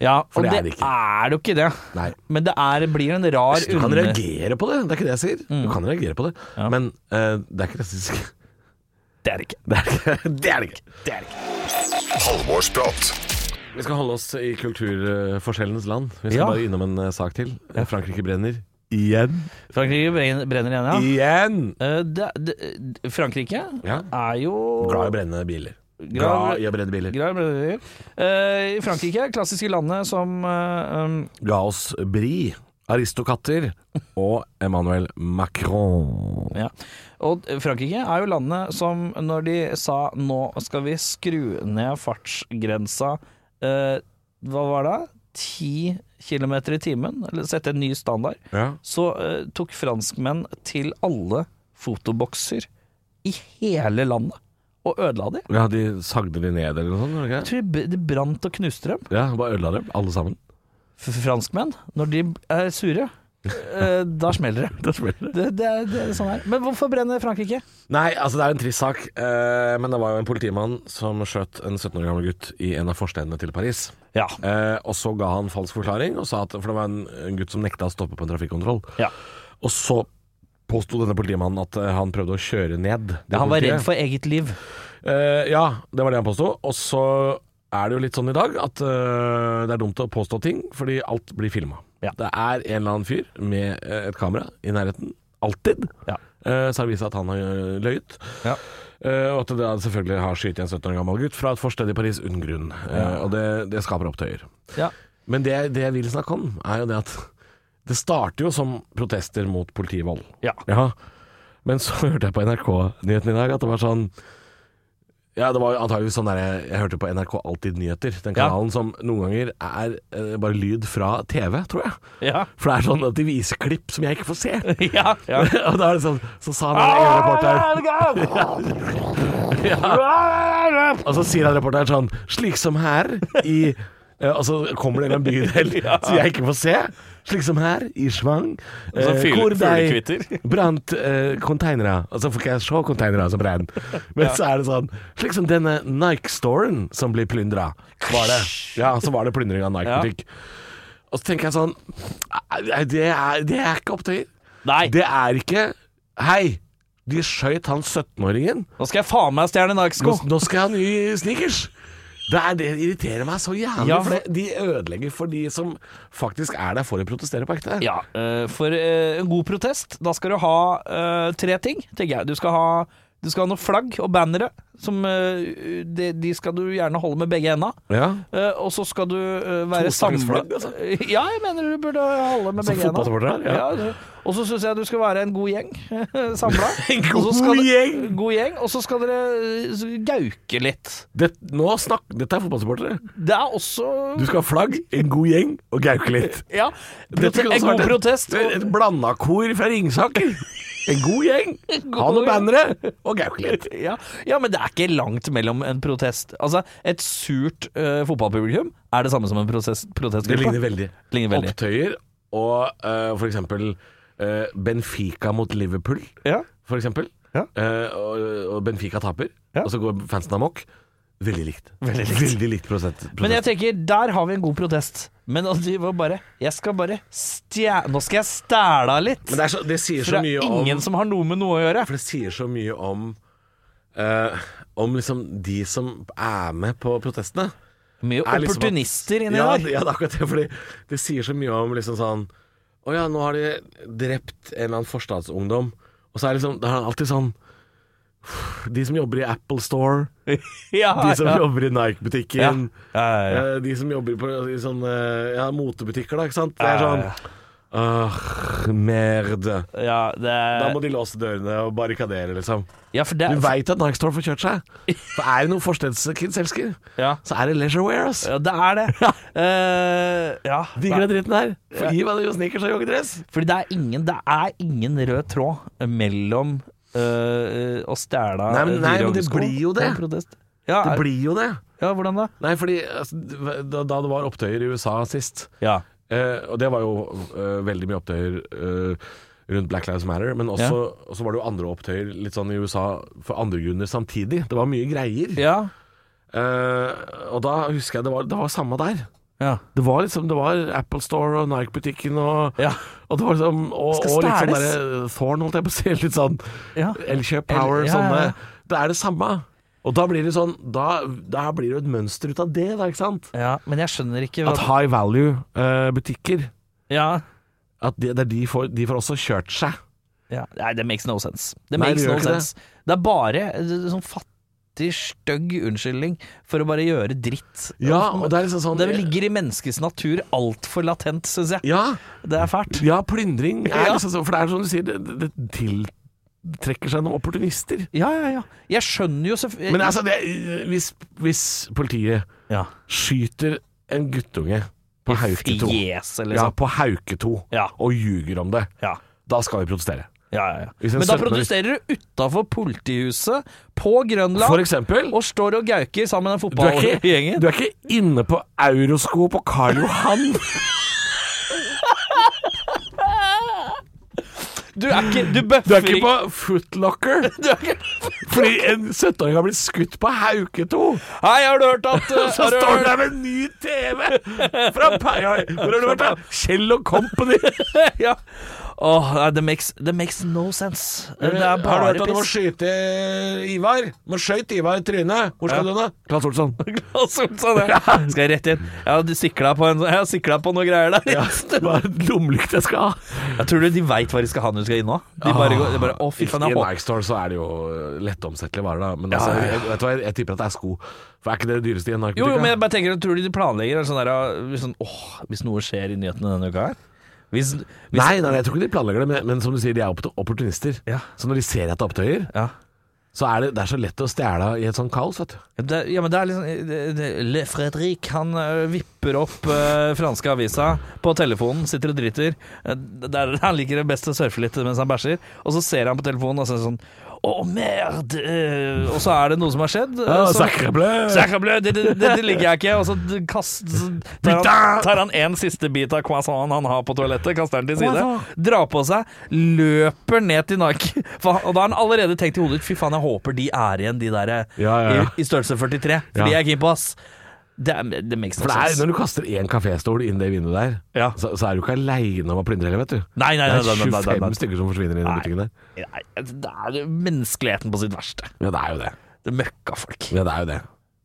[SPEAKER 4] Ja,
[SPEAKER 3] For
[SPEAKER 4] og
[SPEAKER 3] det er
[SPEAKER 4] det
[SPEAKER 3] det ikke.
[SPEAKER 4] er jo ikke det.
[SPEAKER 3] Nei.
[SPEAKER 4] Men det er, blir en rar
[SPEAKER 3] Du kan
[SPEAKER 4] under-
[SPEAKER 3] reagere på det, det er ikke det jeg sier. Du kan reagere på det,
[SPEAKER 4] Mm. Ja.
[SPEAKER 3] men ø, det er ikke rasistisk.
[SPEAKER 4] Det er det ikke.
[SPEAKER 3] Det er det ikke. Det er det ikke.
[SPEAKER 4] Det er det ikke.
[SPEAKER 2] Halvorsprat.
[SPEAKER 3] Vi skal holde oss i kulturforskjellenes land. Vi skal
[SPEAKER 4] Ja.
[SPEAKER 3] bare innom en ø, sak til. Frankrike brenner. Igjen.
[SPEAKER 4] Frankrike brenner brenner igjen, ja.
[SPEAKER 3] Igjen!
[SPEAKER 4] Eh, det, det, Frankrike
[SPEAKER 3] Ja.
[SPEAKER 4] er jo
[SPEAKER 3] Glad i å brenne biler.
[SPEAKER 4] Glad-
[SPEAKER 3] Glad i å brenne biler.
[SPEAKER 4] glad i brenner. Eh, I Frankrike, klassiske landet som eh, um,
[SPEAKER 3] Ga oss Bri, Aristokatter og Emmanuel Macron.
[SPEAKER 4] ja. Og Frankrike er jo landet som når de sa nå skal vi skru ned fartsgrensa eh, Hva var det? 10 km i timen? Eller sette en ny standard?
[SPEAKER 3] Ja.
[SPEAKER 4] så eh, tok franskmenn til alle fotobokser i hele landet og ødela de.
[SPEAKER 3] ja, de sagde de ned eller noe sånt? gjorde de
[SPEAKER 4] Jeg
[SPEAKER 3] ikke?
[SPEAKER 4] tror de br- de brant og knuste dem.
[SPEAKER 3] Ja, bare ødela dem, alle sammen.
[SPEAKER 4] F franskmenn, når de er sure, eh, da smeller det. Det, det, er, det er sånn her. Men hvorfor brenner Frankrike?
[SPEAKER 3] Nei, altså det er en trist sak, eh, men det var jo en politimann som skjøt en 17 år gammel gutt i en av forstedene til Paris.
[SPEAKER 4] Ja.
[SPEAKER 3] Eh, og så ga han falsk forklaring, og sa at, for det var en, en gutt som nekta å stoppe på en trafikkontroll.
[SPEAKER 4] Ja.
[SPEAKER 3] Og så påsto denne politimannen at eh, han prøvde å kjøre ned. det
[SPEAKER 4] Han var
[SPEAKER 3] politiet.
[SPEAKER 4] redd for eget liv.
[SPEAKER 3] Eh, ja, det var det han påsto. Og så er det jo litt sånn i dag at eh, det er dumt å påstå ting, fordi alt blir filma.
[SPEAKER 4] Ja.
[SPEAKER 3] Det er en eller annen fyr med eh, et kamera i nærheten, alltid.
[SPEAKER 4] Ja.
[SPEAKER 3] Eh, så har det vist seg at han har eh, løyet.
[SPEAKER 4] Ja.
[SPEAKER 3] Eh, og at det da selvfølgelig har skutt en 17 år gammel gutt fra et forsted i Paris uten grunn. Eh, Og det, det skaper opptøyer.
[SPEAKER 4] Ja.
[SPEAKER 3] Men det, det jeg vil snakke om, er jo det at det starter jo som protester mot politivold.
[SPEAKER 4] Ja.
[SPEAKER 3] Ja, men så hørte jeg på NRK-nyheten i dag at det var sånn Ja, det var antageligvis sånn der jeg, jeg hørte på NRK Alltid Nyheter, den
[SPEAKER 4] Ja.
[SPEAKER 3] kanalen som noen ganger er eh, bare lyd fra TV, tror jeg.
[SPEAKER 4] Ja.
[SPEAKER 3] For det er sånn at de viser klipp som jeg ikke får se.
[SPEAKER 4] ja. Ah, Eh,
[SPEAKER 3] Og da er det sånn Så sa han der ene reporteren
[SPEAKER 5] Ah,
[SPEAKER 3] Og så sier han reporteren sånn Slik som her i eh, Og så kommer det en bydel som jeg ikke får se. Slik som her, i Svang.
[SPEAKER 5] Og så
[SPEAKER 4] Altså,
[SPEAKER 5] fyl- fuglekvitter.
[SPEAKER 3] brant eh, konteinere. Og så får ikke jeg se konteinere som brenner. Men så er det sånn Slik som denne Nike-storen som blir plyndra. Var det. Ja, så var det plyndring av Nike-butikk. Og så tenker jeg sånn «Nei, Det er, det er ikke opptøyer.
[SPEAKER 4] Nei,
[SPEAKER 3] Det er ikke Hei, de skjøt han 17-åringen.
[SPEAKER 4] nå skal jeg faen meg stjerne
[SPEAKER 3] Nå,
[SPEAKER 4] Nike-sko.
[SPEAKER 3] nå skal jeg ha nye sneakers. Det, er, det irriterer meg så jævlig.
[SPEAKER 4] Ja.
[SPEAKER 3] for det, de ødelegger for de som faktisk er der for å protestere på ekte.
[SPEAKER 4] Ja, eh, for eh, en god protest, da skal du ha eh, tre ting, tenker jeg. Du skal ha, du skal ha noen flagg og bannere, som eh, de, de skal du gjerne holde med begge enda.
[SPEAKER 3] Ja.
[SPEAKER 4] og så skal du eh, være
[SPEAKER 3] Tostakes
[SPEAKER 4] samla
[SPEAKER 3] flagg, altså.
[SPEAKER 4] Ja, jeg mener du burde holde med
[SPEAKER 3] Som
[SPEAKER 4] begge enda.
[SPEAKER 3] fotballsupporter, ja.
[SPEAKER 4] du- Og så syns jeg du skal være en god gjeng samla.
[SPEAKER 3] En
[SPEAKER 4] Og så
[SPEAKER 3] god
[SPEAKER 4] skal du-
[SPEAKER 3] gjeng!
[SPEAKER 4] God gjeng. Og så skal dere eh, gauke litt.
[SPEAKER 3] Det, nå snakk, dette er fotballsupportere.
[SPEAKER 4] Det er også
[SPEAKER 3] Du skal ha flagg, en god gjeng og gauke litt.
[SPEAKER 4] Ja.
[SPEAKER 3] Dette kunne
[SPEAKER 4] en
[SPEAKER 3] også
[SPEAKER 4] god
[SPEAKER 3] vært et-
[SPEAKER 4] protest.
[SPEAKER 3] Et, et blanda kor fra Ringsaker. En god gjeng. Ha
[SPEAKER 4] god
[SPEAKER 3] noen bannere og gauke litt.
[SPEAKER 4] Ja, ja, men det er ikke langt mellom en protest Altså, et surt eh, fotballpublikum er det samme som en protest, protestgruppe.
[SPEAKER 3] Det ligner veldig.
[SPEAKER 4] Ligner veldig.
[SPEAKER 3] Opptøyer og eh, for eksempel eh, Benfica mot Liverpool,
[SPEAKER 4] Ja.
[SPEAKER 3] for eksempel.
[SPEAKER 4] Ja.
[SPEAKER 3] Eh, og, og Benfica taper,
[SPEAKER 4] Ja.
[SPEAKER 3] og så går fansen amok. Veldig likt.
[SPEAKER 4] Veldig likt.
[SPEAKER 3] prosent.
[SPEAKER 4] Men jeg
[SPEAKER 3] prosent.
[SPEAKER 4] tenker, der har vi en god protest. Men at de var bare Jeg skal bare stjæ... Nå skal jeg stæla litt!
[SPEAKER 3] Men det, er så, det sier
[SPEAKER 4] For
[SPEAKER 3] så
[SPEAKER 4] det
[SPEAKER 3] mye
[SPEAKER 4] er ingen
[SPEAKER 3] om
[SPEAKER 4] som har noe med noe å gjøre.
[SPEAKER 3] For det sier så mye om eh, Om liksom de som er med på protestene.
[SPEAKER 4] Mye
[SPEAKER 3] er liksom at-
[SPEAKER 4] opportunister inni
[SPEAKER 3] ja,
[SPEAKER 4] der.
[SPEAKER 3] Ja, det er akkurat det. Fordi det sier så mye om liksom sånn Å ja, nå har de drept en eller annen forstadsungdom. Og så er det liksom Det er alltid sånn De som jobber i Apple Store,
[SPEAKER 4] Ja,
[SPEAKER 3] de som
[SPEAKER 4] ja.
[SPEAKER 3] jobber i Nike-butikken,
[SPEAKER 4] Ja, ja, ja.
[SPEAKER 3] eh, de som jobber på i sånne ja, motebutikker, da, ikke sant. Det
[SPEAKER 4] Ja,
[SPEAKER 3] er sånn
[SPEAKER 4] ja,
[SPEAKER 3] Åh, merde.
[SPEAKER 4] ja, det
[SPEAKER 3] Da
[SPEAKER 4] er,
[SPEAKER 3] må de låse dørene og barrikadere, liksom.
[SPEAKER 4] ja, for det
[SPEAKER 3] Du
[SPEAKER 4] er,
[SPEAKER 3] veit at Nike Store får kjørt seg. For er det noen forstedskids elsker,
[SPEAKER 4] ja,
[SPEAKER 3] så er det Leisurewear, ass.
[SPEAKER 4] ja, det er det. Eh, ja.
[SPEAKER 3] Digger den dritten der. For gi meg noe sneakers og joggedress.
[SPEAKER 4] Fordi det er ingen, det er ingen rød tråd mellom øh, å stjele
[SPEAKER 3] Nei, men- nei,
[SPEAKER 4] dyre
[SPEAKER 3] men det
[SPEAKER 4] joggesko
[SPEAKER 3] blir jo
[SPEAKER 4] og
[SPEAKER 3] det.
[SPEAKER 4] protest. Ja,
[SPEAKER 3] Det blir jo det.
[SPEAKER 4] ja, hvordan da?
[SPEAKER 3] Nei, fordi altså, da, da det var opptøyer i USA sist,
[SPEAKER 4] Ja.
[SPEAKER 3] eh, og det var jo eh, veldig mye opptøyer eh, rundt Black Lives Matter, men også, også var det jo andre opptøyer litt sånn i USA for andre grunner samtidig. Det var mye greier.
[SPEAKER 4] Ja.
[SPEAKER 3] Eh, og da husker jeg det var, det var samme der.
[SPEAKER 4] ja.
[SPEAKER 3] Det var liksom, det var Apple Store og Nike-butikken og
[SPEAKER 4] Ja.
[SPEAKER 3] Og det var liksom Og,
[SPEAKER 4] Skal
[SPEAKER 3] og litt sånn
[SPEAKER 4] stæles.
[SPEAKER 3] derre Thorn, holdt jeg på å si. Litt sånn
[SPEAKER 4] Ja.
[SPEAKER 3] Elkjøp Power,
[SPEAKER 4] El- ja,
[SPEAKER 3] sånne.
[SPEAKER 4] ja, ja.
[SPEAKER 3] Det er det samme. Og da blir det sånn Da, da blir det jo et mønster ut av det, da, ikke sant?
[SPEAKER 4] ja, men jeg skjønner ikke hva
[SPEAKER 3] At high eh, value-butikker
[SPEAKER 4] ja.
[SPEAKER 3] At det, det er de, får, de får også kjørt seg.
[SPEAKER 4] ja. Nei, det makes no sense. Det
[SPEAKER 3] Nei,
[SPEAKER 4] makes
[SPEAKER 3] det gjør
[SPEAKER 4] no
[SPEAKER 3] ikke det.
[SPEAKER 4] sense. Det. er bare en sånn fattig, stygg unnskyldning for å bare gjøre dritt.
[SPEAKER 3] Ja, og det er liksom sånn
[SPEAKER 4] Det ligger i menneskets natur altfor latent, syns jeg.
[SPEAKER 3] Ja,
[SPEAKER 4] Det er fælt.
[SPEAKER 3] ja plyndring er
[SPEAKER 4] Ja.
[SPEAKER 3] liksom sånn For det er som du sier, det, det tiltrekker seg noen opportunister.
[SPEAKER 4] Ja, ja, ja. Jeg skjønner jo selvfølgelig
[SPEAKER 3] Men altså, det, hvis, hvis politiet
[SPEAKER 4] ja.
[SPEAKER 3] skyter en guttunge på Hauketo
[SPEAKER 4] Fjes, eller
[SPEAKER 3] Ja,
[SPEAKER 4] sånn.
[SPEAKER 3] på Hauketo
[SPEAKER 4] Ja.
[SPEAKER 3] og ljuger om det,
[SPEAKER 4] Ja.
[SPEAKER 3] da skal vi protestere.
[SPEAKER 4] Ja, ja, ja.
[SPEAKER 3] Hvis en
[SPEAKER 4] Men da
[SPEAKER 3] 17-åring-
[SPEAKER 4] protesterer du utafor politihuset på Grønland
[SPEAKER 3] For eksempel
[SPEAKER 4] og står og gauker sammen med
[SPEAKER 3] du er, ikke,
[SPEAKER 4] fotballgjengen.
[SPEAKER 3] du er ikke inne på Eurosko på Karl Johan.
[SPEAKER 4] Du, er ikke Du
[SPEAKER 3] Du er
[SPEAKER 4] bøffer
[SPEAKER 3] ikke på Footlocker
[SPEAKER 4] Du er ikke
[SPEAKER 3] fordi en 17-åring har blitt skutt på Hauketo.
[SPEAKER 4] Hei, har du hørt at uh,
[SPEAKER 3] Så
[SPEAKER 4] har du
[SPEAKER 3] står du
[SPEAKER 4] hørt-
[SPEAKER 3] der med en ny TV fra Peia. Hvor har du vært, da? Kjell og Company.
[SPEAKER 4] ja. Åh, nei, det makes, det makes no sense. Det er bare piss.
[SPEAKER 3] skyte Ivar? Må skøyte Ivar i trynet. Hvor skal du nå? Claes Olsson. Altså,
[SPEAKER 4] Claes Olsson, ja. Skal jeg rett inn? Jeg har sikla på, en- jeg har siklet på noe greier der.
[SPEAKER 3] Hva er det lommelykt jeg skal ha?
[SPEAKER 4] Jeg tror du de veit hva de skal ha når de skal inn nå? De bare går de bare, Å, fy faen,
[SPEAKER 3] Ah. I
[SPEAKER 4] jeg håper
[SPEAKER 3] Nike Store så er det jo lettomsettelige varer, da. Men altså, Jeg, vet du hva, jeg tipper at det er sko. For er ikke det det dyreste i en
[SPEAKER 4] Jo, jo, men
[SPEAKER 3] Nike-butikk?
[SPEAKER 4] jeg bare tenker Tror du de planlegger en sånn der uh, sånn, åh, Hvis noe skjer i nyhetene denne uka her Hvis, hvis
[SPEAKER 3] Nei, nei, jeg tror ikke de planlegger det, men, men som du sier, de er opp- opportunister.
[SPEAKER 4] Ja.
[SPEAKER 3] Så når de ser at det er opptøyer,
[SPEAKER 4] ja.
[SPEAKER 3] så er det, det er så lett å stjele i et sånt kaos, vet du.
[SPEAKER 4] Det, ja, men det er liksom det, det, Le Fredrik, han ø, vipper opp ø, franske avisa på telefonen, sitter og driter. Eh, det er- han liker det best å surfe litt mens han bæsjer. Og så ser han på telefonen og så er det sånn Å, Å, merd! eh, Og så er det noe som har skjedd. eh,
[SPEAKER 3] Ah,
[SPEAKER 4] som-
[SPEAKER 3] sacrebleu.
[SPEAKER 4] Sacre bleu, det, det, det, det ligger jeg ikke. Og så kast, så tar han- tar han en siste bit av croissanten han har på toalettet, kaster den til side, drar på seg, løper ned til Nike. For, han- og da har han allerede tenkt i hodet Fy faen, jeg håper de er igjen, de der eh,
[SPEAKER 3] Ja, ja, ja.
[SPEAKER 4] I, i størrelse 43.
[SPEAKER 3] Ja.
[SPEAKER 4] For de er jeg keen på, ass. Det, er- det makes no
[SPEAKER 3] For det er,
[SPEAKER 4] sense.
[SPEAKER 3] når du kaster én kaféstol inn det vinduet der,
[SPEAKER 4] Ja.
[SPEAKER 3] så, så er du ikke aleine om å plyndre heller, vet du.
[SPEAKER 4] Nei, nei, nei,
[SPEAKER 3] Det
[SPEAKER 4] nei,
[SPEAKER 3] er
[SPEAKER 4] nei, nei, nei,
[SPEAKER 3] 25
[SPEAKER 4] nei.
[SPEAKER 3] stykker som forsvinner inn i
[SPEAKER 4] Nei.
[SPEAKER 3] butikken der.
[SPEAKER 4] Nei, Det er menneskeligheten på sitt verste.
[SPEAKER 3] Ja, det er jo det.
[SPEAKER 4] Det møkka folk.
[SPEAKER 3] Ja, det er jo det.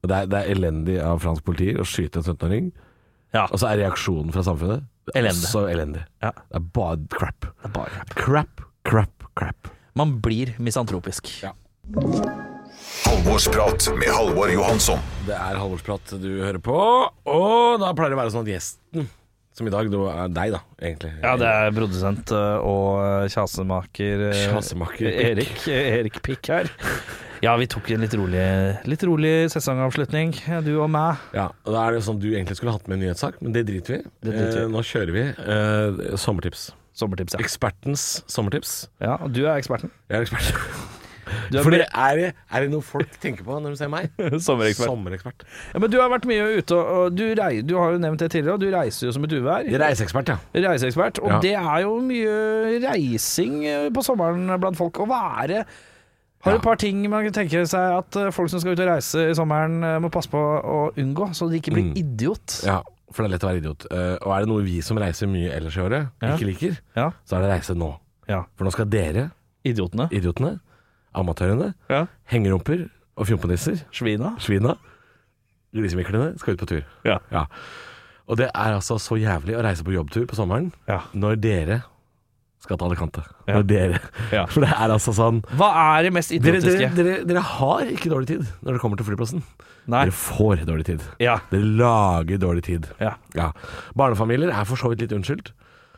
[SPEAKER 3] Og Det er, det er elendig av fransk politi å skyte en 17-åring,
[SPEAKER 4] Ja.
[SPEAKER 3] og så er reaksjonen fra samfunnet
[SPEAKER 4] Elendig.
[SPEAKER 3] Så elendig.
[SPEAKER 4] Ja.
[SPEAKER 3] Det er bare crap.
[SPEAKER 4] Det er bare
[SPEAKER 3] Crap, crap, crap.
[SPEAKER 4] Man blir misantropisk.
[SPEAKER 2] Halvorsprat med Halvor Johansson.
[SPEAKER 3] Det er halvårsprat du hører på, og da pleier det å være sånn at gjesten, som i dag, det er deg da, egentlig.
[SPEAKER 4] Ja, det er produsent eh, og kjasemaker eh,
[SPEAKER 3] Kjasemaker Erik.
[SPEAKER 4] Erik, Erik Pikk her. Ja, vi tok en litt rolig, litt rolig sesongavslutning, du og meg.
[SPEAKER 3] Ja, og da er det sånn du egentlig skulle hatt med en nyhetssak, men det driter vi. i.
[SPEAKER 4] Det driter vi i.
[SPEAKER 3] Eh, nå kjører vi eh, sommertips.
[SPEAKER 4] Sommertips, ja.
[SPEAKER 3] Ekspertens sommertips.
[SPEAKER 4] ja. og Du er eksperten.
[SPEAKER 3] Jeg er ekspert.
[SPEAKER 4] Du er
[SPEAKER 3] For det er, det- er det noe folk tenker på når de ser meg?
[SPEAKER 5] Sommerekspert.
[SPEAKER 3] Sommerekspert.
[SPEAKER 4] Ja, men du har vært mye ute, og- og du, rei, du har jo nevnt det tidligere, og du reiser jo som et uvær.
[SPEAKER 3] Reiseekspert, ja.
[SPEAKER 4] Reiseekspert. Og
[SPEAKER 3] Ja.
[SPEAKER 4] det er jo mye reising eh, på sommeren blant folk. Og hva er det Har du et par ting man kan tenke seg at eh, folk som skal ut og reise i sommeren, eh, må passe på å unngå, så de
[SPEAKER 3] Mm.
[SPEAKER 4] ikke blir idiot?
[SPEAKER 3] Ja, for det er lett å være idiot. Eh, og er det noe vi som reiser mye ellers i året,
[SPEAKER 4] Ja.
[SPEAKER 3] ikke liker,
[SPEAKER 4] Ja.
[SPEAKER 3] så er det reise nå.
[SPEAKER 4] Ja.
[SPEAKER 3] For nå skal dere,
[SPEAKER 4] Idiotene.
[SPEAKER 3] idiotene, amatørene,
[SPEAKER 4] Ja.
[SPEAKER 3] hengerumper og fjompenisser,
[SPEAKER 4] Svina.
[SPEAKER 3] svina, grisemiklene, skal ut på tur.
[SPEAKER 4] Ja.
[SPEAKER 3] Og det er altså så jævlig å reise på jobbtur på sommeren
[SPEAKER 4] Ja.
[SPEAKER 3] når dere skal til Alicante.
[SPEAKER 4] Ja.
[SPEAKER 3] Når dere.
[SPEAKER 4] Ja.
[SPEAKER 3] For det er altså sånn
[SPEAKER 4] Hva er det mest
[SPEAKER 3] dere, dere,
[SPEAKER 4] idiotiske?
[SPEAKER 3] dere, dere har ikke dårlig tid når dere kommer til flyplassen.
[SPEAKER 4] Nei.
[SPEAKER 3] Dere får dårlig tid.
[SPEAKER 4] Ja.
[SPEAKER 3] Dere lager dårlig tid.
[SPEAKER 4] Ja.
[SPEAKER 3] Ja. Barnefamilier er for så vidt litt unnskyldt,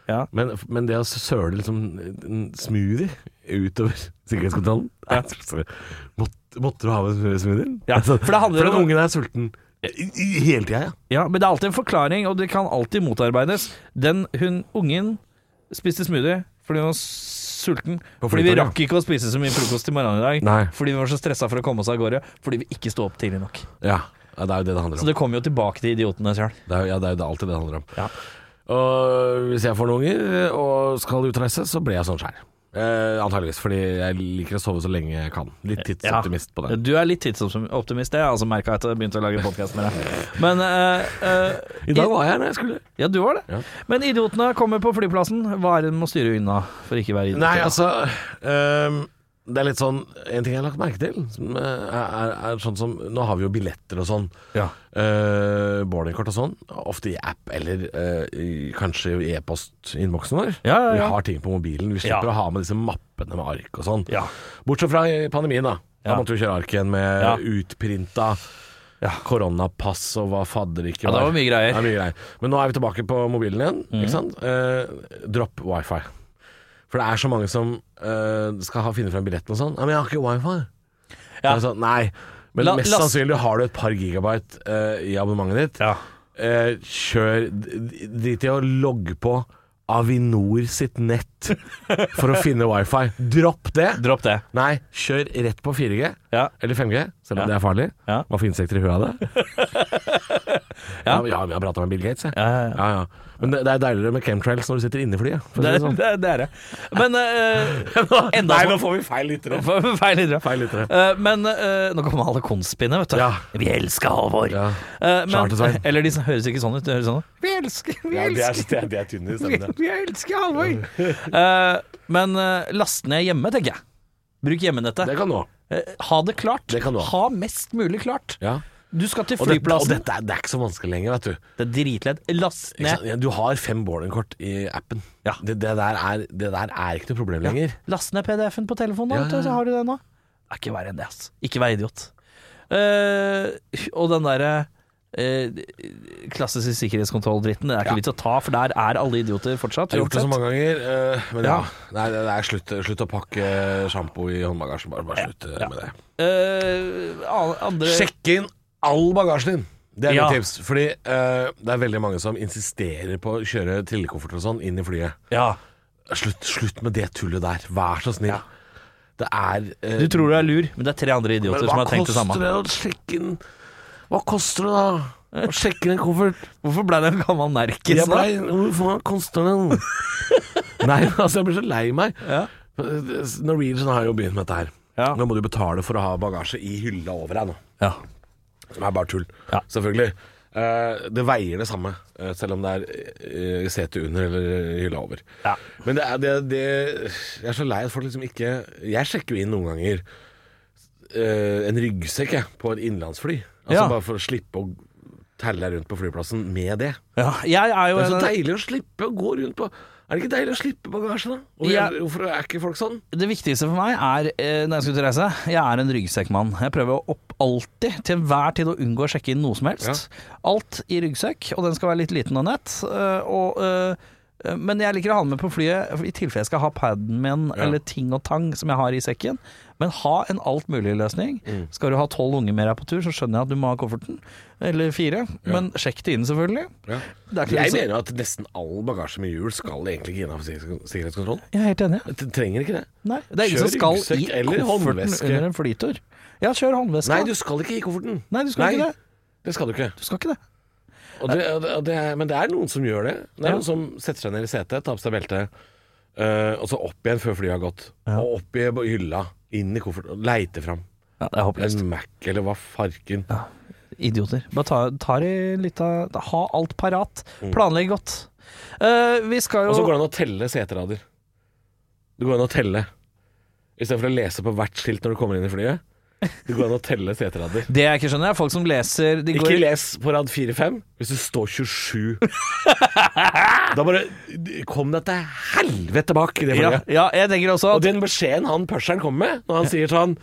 [SPEAKER 4] Ja.
[SPEAKER 3] men, men det å søle liksom en smoothie utover sikkerhetskontrollen
[SPEAKER 4] Ja.
[SPEAKER 3] Altså, måtte, måtte du ha med smoothien? Altså,
[SPEAKER 4] Ja, for det handler
[SPEAKER 3] for at
[SPEAKER 4] om-
[SPEAKER 3] ungen er sulten I- i- hele tida, ja.
[SPEAKER 4] ja, men det er alltid en forklaring, og det kan alltid motarbeides. Den hun ungen spiste smoothie fordi hun var sulten.
[SPEAKER 3] På
[SPEAKER 4] Fordi vi
[SPEAKER 3] flytoget.
[SPEAKER 4] rakk ikke å spise så mye frokost til morgenen i dag.
[SPEAKER 3] Nei.
[SPEAKER 4] Fordi vi var så stressa for å komme oss av gårde. Fordi vi ikke sto opp tidlig nok.
[SPEAKER 3] ja. Ja, det er jo det det handler om.
[SPEAKER 4] Så det kommer jo tilbake til idiotene sjøl.
[SPEAKER 3] Det er, jo- ja, det er jo det alltid det handler om.
[SPEAKER 4] Ja.
[SPEAKER 3] Og hvis jeg får noen unger og skal utreise, så blir jeg sånn skjær. Eh, antageligvis, fordi jeg liker å sove så lenge jeg kan. Litt tidsoptimist på det.
[SPEAKER 4] Du er litt tidsoptimist, det har jeg altså merka etter at jeg begynte å lage podkast med deg. Men eh, eh,
[SPEAKER 3] I dag var jeg her når jeg skulle.
[SPEAKER 4] Ja, du var det.
[SPEAKER 3] Ja.
[SPEAKER 4] Men idiotene kommer på flyplassen. Hva er det en må styre unna for ikke å være idiot?
[SPEAKER 3] Nei, altså ehm, Det er litt sånn En ting jeg har lagt merke til, som eh, er, er, er sånn som Nå har vi jo billetter og sånn.
[SPEAKER 4] Ja.
[SPEAKER 3] Eh, boardingkort og sånn. Ofte i app eller eh, i, kanskje i e-postinnboksen vår.
[SPEAKER 4] Ja, ja, ja.
[SPEAKER 3] Vi har ting på mobilen. Vi slipper
[SPEAKER 4] Ja.
[SPEAKER 3] å ha med disse mappene med ark og sånn.
[SPEAKER 4] Ja.
[SPEAKER 3] Bortsett fra i pandemien, da. Da
[SPEAKER 4] Ja.
[SPEAKER 3] måtte vi kjøre ark igjen med
[SPEAKER 4] Ja.
[SPEAKER 3] utprinta koronapass og hva fadder ikke
[SPEAKER 4] Ja, det var mye greier. Mhm.
[SPEAKER 3] Det var mye greier. Men nå er vi tilbake på mobilen igjen. Ikke sant? Eh, dropp wifi. For det er så mange som eh, skal ha, finne frem billetten og sånn. Nei, men jeg har ikke wifi. Det
[SPEAKER 4] Ja.
[SPEAKER 3] er sånn, nei. Men
[SPEAKER 4] La-
[SPEAKER 3] mest
[SPEAKER 4] last-
[SPEAKER 3] sannsynlig har du et par gigabyte eh, i abonnementet ditt.
[SPEAKER 4] Ja.
[SPEAKER 3] Eh, kjør d- Drit i å logge på Avinor sitt nett for å finne wifi. Dropp det.
[SPEAKER 4] Dropp det.
[SPEAKER 3] Nei, kjør rett på 4G
[SPEAKER 4] Ja.
[SPEAKER 3] eller 5G, selv om
[SPEAKER 4] Ja.
[SPEAKER 3] det er farlig.
[SPEAKER 4] Ja.
[SPEAKER 3] Man får insekter i huet av det. ja. men- ja, men jeg har prata med Bill Gates, jeg.
[SPEAKER 4] Ja, ja, ja.
[SPEAKER 3] Men det, det er deiligere med chemtrails når du sitter inni flyet. for å si
[SPEAKER 4] Det,
[SPEAKER 3] det
[SPEAKER 4] er-
[SPEAKER 3] sånn.
[SPEAKER 4] det, er- det er det. Men eh, enda
[SPEAKER 3] Nei, nå får vi feil lyttere.
[SPEAKER 4] Feil lyttere.
[SPEAKER 3] Feil lyttere.
[SPEAKER 4] Eh, men eh, nå kommer alle konspiene, vet du.
[SPEAKER 3] Ja.
[SPEAKER 4] Vi elsker Halvor.
[SPEAKER 3] Ja.
[SPEAKER 4] Eh, men-
[SPEAKER 3] Charter-Svein.
[SPEAKER 4] eller de som høres ikke sånn ut. De høres sånn ut. Vi elsker, vi
[SPEAKER 3] Ja,
[SPEAKER 4] elsker,
[SPEAKER 3] det er, det er tynn i stemmen, det.
[SPEAKER 4] vi elsker Halvor. Eh, men eh, last ned hjemme, tenker jeg. Bruk hjemmenettet.
[SPEAKER 3] Det kan nå.
[SPEAKER 4] Eh, ha det klart.
[SPEAKER 3] Det kan du ha.
[SPEAKER 4] ha mest mulig klart.
[SPEAKER 3] Ja.
[SPEAKER 4] Du skal til
[SPEAKER 3] Og, det, og
[SPEAKER 4] flyplassen.
[SPEAKER 3] dette er, det er ikke så vanskelig lenger, vet du.
[SPEAKER 4] Det er dritledd. Last
[SPEAKER 3] Ikke sant?
[SPEAKER 4] ned.
[SPEAKER 3] Ja, Du har fem boardingkort i appen.
[SPEAKER 4] Ja.
[SPEAKER 3] Det, det, der er, det der er ikke noe problem lenger.
[SPEAKER 4] Last ned PDF-en på telefonen, da,
[SPEAKER 3] Ja,
[SPEAKER 4] vet du,
[SPEAKER 3] ja, ja.
[SPEAKER 4] så har du det nå. Det er ikke verre enn det, ass. Ikke vær idiot. Eh, og den derre eh, klassiske sikkerhetskontrolldritten, det er ikke
[SPEAKER 3] Ja.
[SPEAKER 4] vits å ta, for der er alle idioter fortsatt.
[SPEAKER 3] Jeg har gjort det så
[SPEAKER 4] uansett.
[SPEAKER 3] mange ganger, eh, men ja.
[SPEAKER 4] Ja.
[SPEAKER 3] Nei, det, det er slutt, slutt å pakke sjampo i håndbagasjen. Bare, bare slutt eh, med det.
[SPEAKER 4] Eh, an- andre
[SPEAKER 3] Sjekk inn all bagasjen din. Det er
[SPEAKER 4] Ja.
[SPEAKER 3] mitt tips. Fordi eh, det er veldig mange som insisterer på å kjøre trillekofferter og sånn inn i flyet.
[SPEAKER 4] Ja.
[SPEAKER 3] Slutt, slutt med det tullet der. Vær så snill. Det er eh,
[SPEAKER 4] Du tror du er lur, men det er tre andre idioter
[SPEAKER 3] men
[SPEAKER 4] som
[SPEAKER 3] hva
[SPEAKER 4] har tenkt det
[SPEAKER 3] koster
[SPEAKER 4] samme.
[SPEAKER 3] det å sjekke en Hva koster det da å sjekke en koffert?
[SPEAKER 4] Hvorfor ble det en gammel nerkis?
[SPEAKER 3] Jeg
[SPEAKER 4] da?
[SPEAKER 3] blei Hvor faen koster den? Nei, altså, jeg blir så lei meg.
[SPEAKER 4] Ja.
[SPEAKER 3] Norwegian har jo begynt med dette her.
[SPEAKER 4] Ja.
[SPEAKER 3] Nå må du betale for å ha bagasje i hylla over deg nå.
[SPEAKER 4] Ja.
[SPEAKER 3] Som er bare tull,
[SPEAKER 4] Ja.
[SPEAKER 3] selvfølgelig. Eh, det veier det samme, eh, selv om det er eh, sete under eller hylla over.
[SPEAKER 4] Ja.
[SPEAKER 3] Men det er, det, det, jeg er så lei at folk liksom ikke Jeg sjekker jo inn noen ganger eh, en ryggsekk jeg, på et innenlandsfly. Altså
[SPEAKER 4] Ja.
[SPEAKER 3] Bare for å slippe å telle rundt på flyplassen med det.
[SPEAKER 4] ja. Jeg er jo
[SPEAKER 3] Det er så
[SPEAKER 4] en,
[SPEAKER 3] deilig å slippe å gå rundt på Er det ikke deilig å slippe bagasje, da? Og
[SPEAKER 4] Ja.
[SPEAKER 3] Hvorfor er ikke folk sånn?
[SPEAKER 4] det viktigste for meg er eh, når jeg skal ut og reise, jeg er en ryggsekkmann. Jeg prøver å opp alltid, til enhver tid, å unngå å sjekke inn noe som helst. Alt i ryggsekk, og den skal være litt liten og nett. eh, og, eh, eh, men jeg liker å ha den med på flyet i tilfelle jeg skal ha paden min eller ting og tang som jeg har i sekken. Men ha en alt mulig-løsning.
[SPEAKER 3] Mm.
[SPEAKER 4] Skal du ha tolv unger med deg på tur, så skjønner jeg at du må ha kofferten. Eller fire. Men sjekk det inn, selvfølgelig. Det er ikke
[SPEAKER 3] Jeg
[SPEAKER 4] så-
[SPEAKER 3] mener jo at nesten all bagasje med hjul skal egentlig ikke innafor sikkerhets- sikkerhetskontrollen.
[SPEAKER 4] Jeg er helt enig.
[SPEAKER 3] Det trenger ikke det.
[SPEAKER 4] Nei, det er ingen
[SPEAKER 3] Kjør
[SPEAKER 4] som skal i
[SPEAKER 3] ryggsekk eller
[SPEAKER 4] kofferten
[SPEAKER 3] håndveske.
[SPEAKER 4] under en flytur. Ja, kjør håndveske.
[SPEAKER 3] Nei, du skal ikke i kofferten.
[SPEAKER 4] Nei, du skal ikke det.
[SPEAKER 3] Det skal du ikke.
[SPEAKER 4] Du skal ikke det.
[SPEAKER 3] Og det, og det, og det er, men det er noen som gjør det. Det er
[SPEAKER 4] Ja.
[SPEAKER 3] noen som setter seg ned i setet, tar på seg beltet, eh, og så opp igjen før flyet har gått. Og opp i hylla, inn i kofferten, og leite fram
[SPEAKER 4] Ja, det er håpløst.
[SPEAKER 3] en Mac eller hva farken.
[SPEAKER 4] Idioter. Bare ta, ta det litt av Ha alt parat. Planlegg godt. Eh, vi skal
[SPEAKER 3] Mm.
[SPEAKER 4] jo
[SPEAKER 3] Og så går det an å telle seterader. Det går an å telle. Istedenfor å lese på hvert skilt når du kommer inn i flyet. Det går an å telle seterader.
[SPEAKER 4] Det jeg ikke skjønner, er folk som leser de går,
[SPEAKER 3] Ikke les på rad 4-5 hvis det står 27. da bare Kom deg til helvete bak i det
[SPEAKER 4] ja,
[SPEAKER 3] flyet.
[SPEAKER 4] ja, jeg tenker også
[SPEAKER 3] Og
[SPEAKER 4] at
[SPEAKER 3] den beskjeden han pusheren kommer med, når han sier sånn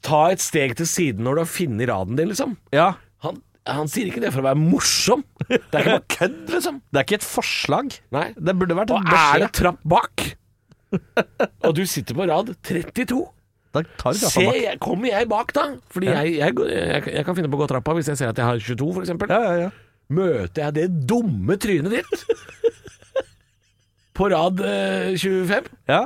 [SPEAKER 3] Ta et steg til siden når du har funnet raden din, liksom.
[SPEAKER 4] ja,
[SPEAKER 3] Han, han sier ikke det for å være morsom. Det er ikke bare kødd, liksom.
[SPEAKER 4] det er ikke et forslag.
[SPEAKER 3] Nei.
[SPEAKER 4] Det burde vært en
[SPEAKER 3] Og er det
[SPEAKER 4] beskjed.
[SPEAKER 3] trapp bak, og du sitter på rad 32,
[SPEAKER 4] Da tar du
[SPEAKER 3] Se,
[SPEAKER 4] gaffa bak.
[SPEAKER 3] jeg, kommer jeg bak da? Fordi jeg, jeg, går- jeg, jeg kan finne på å gå trappa hvis jeg ser at jeg har 22, for eksempel.
[SPEAKER 4] Ja, ja, ja.
[SPEAKER 3] Møter jeg det dumme trynet ditt på rad eh, 25?
[SPEAKER 4] ja.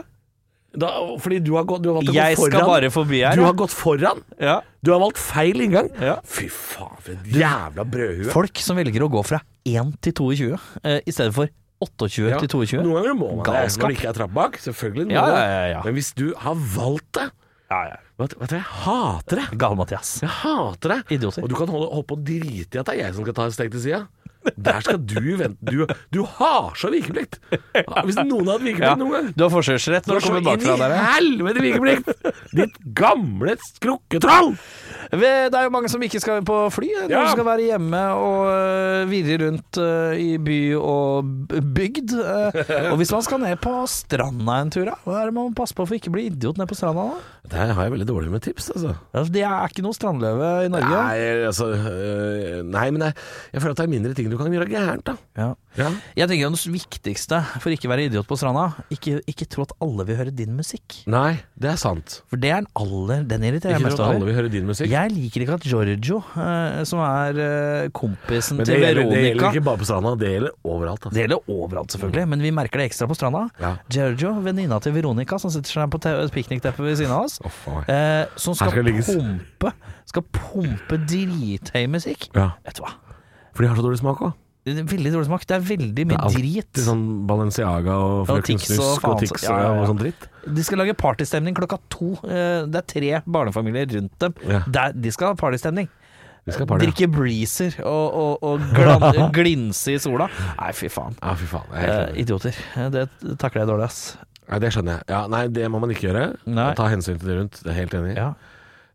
[SPEAKER 3] Da, fordi du har, gått, du har valgt å
[SPEAKER 4] Jeg
[SPEAKER 3] gå foran.
[SPEAKER 4] skal bare forbi her.
[SPEAKER 3] Du
[SPEAKER 4] ja.
[SPEAKER 3] har gått foran.
[SPEAKER 4] Ja.
[SPEAKER 3] Du har valgt feil inngang.
[SPEAKER 4] Ja.
[SPEAKER 3] Fy faen, for et jævla brødhue.
[SPEAKER 4] Folk som velger å gå fra 1 til 22 eh, i stedet for 28
[SPEAKER 3] Ja,
[SPEAKER 4] til 22.
[SPEAKER 3] Noen ganger må man det
[SPEAKER 4] Galskap.
[SPEAKER 3] når det ikke er trapp bak. Selvfølgelig. må
[SPEAKER 4] Ja,
[SPEAKER 3] man det.
[SPEAKER 4] ja, ja, ja.
[SPEAKER 3] Men hvis du har valgt det
[SPEAKER 4] Ja, ja.
[SPEAKER 3] Vet vet du, hva, jeg hater det.
[SPEAKER 4] Gale Mathias.
[SPEAKER 3] Jeg hater det.
[SPEAKER 4] Idioter.
[SPEAKER 3] Og du kan holde, holde på å drite i at det er jeg som skal ta et steg til sida. Der skal du vente. Du, du har så vikeplikt! Hvis noen hadde vikeplikt noen gang
[SPEAKER 4] Du har forkjørsrett når du kommer bakfra der. ja.
[SPEAKER 3] helvete vikeplikt! Ditt gamle skrukketroll!
[SPEAKER 4] Vi- Det er jo mange som ikke skal på fly. eh, Noen
[SPEAKER 3] Ja.
[SPEAKER 4] som skal være hjemme og øh, virre rundt øh, i by og b- bygd. øh. og hvis man skal ned på stranda en tur, da, hva er det man må passe på for ikke å bli idiot nede på stranda? da?
[SPEAKER 3] Der har jeg veldig dårlig med tips, altså.
[SPEAKER 4] Ja, for Det er ikke noe strandløve i Norge.
[SPEAKER 3] Nei, altså øh, Nei, men jeg, jeg føler at det er mindre ting du kan gjøre gærent, da.
[SPEAKER 4] Ja. Jeg tenker at Det viktigste for ikke å være idiot på stranda, ikke, ikke tro at alle vil høre din musikk.
[SPEAKER 3] Nei, det er sant.
[SPEAKER 4] For det er den aller Den irriterer
[SPEAKER 3] Ikke tror
[SPEAKER 4] jeg mest
[SPEAKER 3] at alle
[SPEAKER 4] over.
[SPEAKER 3] vil høre din musikk.
[SPEAKER 4] Jeg liker ikke at Giorgio, eh, som er eh, kompisen
[SPEAKER 3] men det
[SPEAKER 4] til
[SPEAKER 3] gjelder, det
[SPEAKER 4] Veronica
[SPEAKER 3] gjelder ikke bare på stranda, det gjelder overalt. Altså.
[SPEAKER 4] Det gjelder overalt, selvfølgelig, men vi merker det ekstra på stranda.
[SPEAKER 3] Mm. Ja.
[SPEAKER 4] Giorgio, venninna til Veronica, som sitter seg på te- et piknikteppe ved siden av oss,
[SPEAKER 3] Å, faen meg.
[SPEAKER 4] eh, som skal,
[SPEAKER 3] Her skal det ligges.
[SPEAKER 4] pumpe Skal pumpe drithøy musikk.
[SPEAKER 3] Ja,
[SPEAKER 4] Vet du hva.
[SPEAKER 3] for de har så dårlig smak òg.
[SPEAKER 4] Det er veldig dårlig smak. Det er veldig
[SPEAKER 3] Det
[SPEAKER 4] mye
[SPEAKER 3] er alltid
[SPEAKER 4] drit.
[SPEAKER 3] sånn Balenciaga og
[SPEAKER 4] Ja,
[SPEAKER 3] Frøken
[SPEAKER 4] Tix og
[SPEAKER 3] Snusk
[SPEAKER 4] faen
[SPEAKER 3] og
[SPEAKER 4] så-
[SPEAKER 3] Tix og,
[SPEAKER 4] ja, ja, ja.
[SPEAKER 3] og sånn dritt.
[SPEAKER 4] De skal lage partystemning klokka to. Eh, det er tre barnefamilier rundt dem.
[SPEAKER 3] Ja.
[SPEAKER 4] Der, de skal ha partystemning.
[SPEAKER 3] Vi skal party.
[SPEAKER 4] Drikke breezer og, og, og glan, glinse i sola. Nei, fy faen.
[SPEAKER 3] Ja, fy faen. Jeg er helt
[SPEAKER 4] Eh,
[SPEAKER 3] enig.
[SPEAKER 4] idioter. Eh, Det takler jeg dårlig, ass.
[SPEAKER 3] Nei, det skjønner jeg. Ja, nei, det må man ikke gjøre.
[SPEAKER 4] Nei.
[SPEAKER 3] Ta hensyn til de rundt. Det er jeg helt enig i.
[SPEAKER 4] Ja.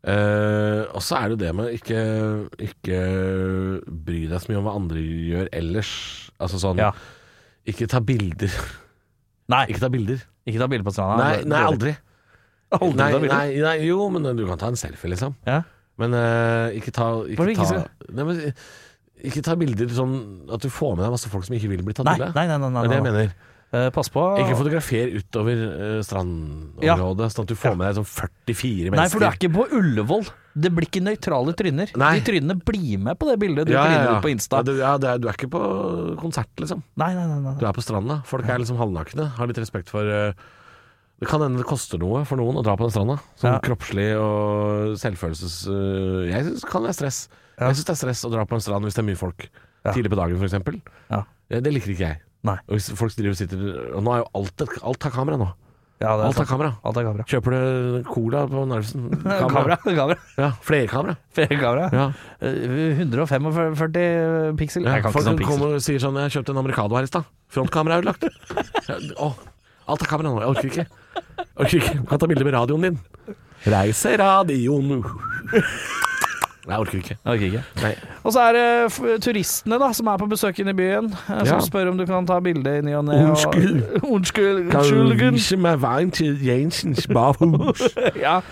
[SPEAKER 3] Eh, og så er det jo det med ikke, ikke bry deg så mye om hva andre gjør ellers. Altså sånn
[SPEAKER 4] Ja.
[SPEAKER 3] Ikke ta bilder.
[SPEAKER 4] Nei,
[SPEAKER 3] Ikke ta bilder.
[SPEAKER 4] ikke ta bilde på stranda.
[SPEAKER 3] Nei,
[SPEAKER 4] Det er
[SPEAKER 3] nei
[SPEAKER 4] dårlig.
[SPEAKER 3] aldri.
[SPEAKER 4] Aldri
[SPEAKER 3] nei,
[SPEAKER 4] ta bilder?
[SPEAKER 3] nei, nei, jo, men eh, du kan ta en selfie, liksom.
[SPEAKER 4] Ja.
[SPEAKER 3] Men eh, ikke ta,
[SPEAKER 4] Hva
[SPEAKER 3] ikke
[SPEAKER 4] er det ikke
[SPEAKER 3] ta
[SPEAKER 4] skal-
[SPEAKER 3] nei, men, ikke ta bilder sånn at du får med deg masse folk som ikke vil bli tatt
[SPEAKER 4] Nei,
[SPEAKER 3] bilde av.
[SPEAKER 4] nei, nei, nei, nei,
[SPEAKER 3] Det er det jeg
[SPEAKER 4] nei.
[SPEAKER 3] mener.
[SPEAKER 4] Eh, pass på.
[SPEAKER 3] Ikke fotografer utover eh, strandområdet, sånn at du får med deg sånn 44 mennesker.
[SPEAKER 4] Nei, for du er ikke på Ullevål. Det blir ikke nøytrale tryner.
[SPEAKER 3] Nei.
[SPEAKER 4] De trynene blir med på det bildet du
[SPEAKER 3] ja, ja, ja.
[SPEAKER 4] tryner ut på Insta.
[SPEAKER 3] Ja, du, ja, det er, du er ikke på konsert, liksom.
[SPEAKER 4] Nei, nei, nei. nei.
[SPEAKER 3] Du er på stranda. Folk er liksom halvnakne. Har litt respekt for eh, Det kan hende det koster noe for noen å dra på den stranda. Sånn
[SPEAKER 4] Ja.
[SPEAKER 3] kroppslig og selvfølelses... øh, Jeg syns det kan være stress.
[SPEAKER 4] Ja.
[SPEAKER 3] Jeg syns det er stress å dra på en strand hvis det er mye folk.
[SPEAKER 4] Ja.
[SPEAKER 3] Tidlig på dagen, f.eks.
[SPEAKER 4] Ja.
[SPEAKER 3] Det liker ikke jeg.
[SPEAKER 4] Nei.
[SPEAKER 3] Og hvis folk driver og sitter Og nå er jo alt et, Alt har kamera nå.
[SPEAKER 4] Ja, det er
[SPEAKER 3] Alt har
[SPEAKER 4] sant.
[SPEAKER 3] kamera.
[SPEAKER 4] Alt er kamera.
[SPEAKER 3] Kjøper du cola på Narvesen?
[SPEAKER 4] Kamera. kamera.
[SPEAKER 3] Ja, Flerkamera.
[SPEAKER 4] Flere kamera.
[SPEAKER 3] Ja.
[SPEAKER 4] Eh, 145 piksel.
[SPEAKER 3] Ja,
[SPEAKER 4] Jeg kan ikke
[SPEAKER 3] folk
[SPEAKER 4] sånn piksel.
[SPEAKER 3] kommer og sier sånn 'Jeg kjøpte en americano her i stad'. Frontkamera er ødelagt. Ja, Åh, alt er kamera nå. Jeg orker ikke. Orker ikke. Du kan ta bilde med radioen din. Reise radioen Nei, jeg orker ikke.
[SPEAKER 4] Jeg orker ikke.
[SPEAKER 3] Nei.
[SPEAKER 4] Og så er det f- turistene da, som er på besøk inne i byen, eh, som
[SPEAKER 3] Ja.
[SPEAKER 4] spør om du kan ta bilde i ny og ne. og-
[SPEAKER 3] Unnskyld.
[SPEAKER 4] Unnskyld.
[SPEAKER 3] Kan du
[SPEAKER 4] Unnskyld.
[SPEAKER 3] vise meg veien til Jensens barhus?
[SPEAKER 4] Ja.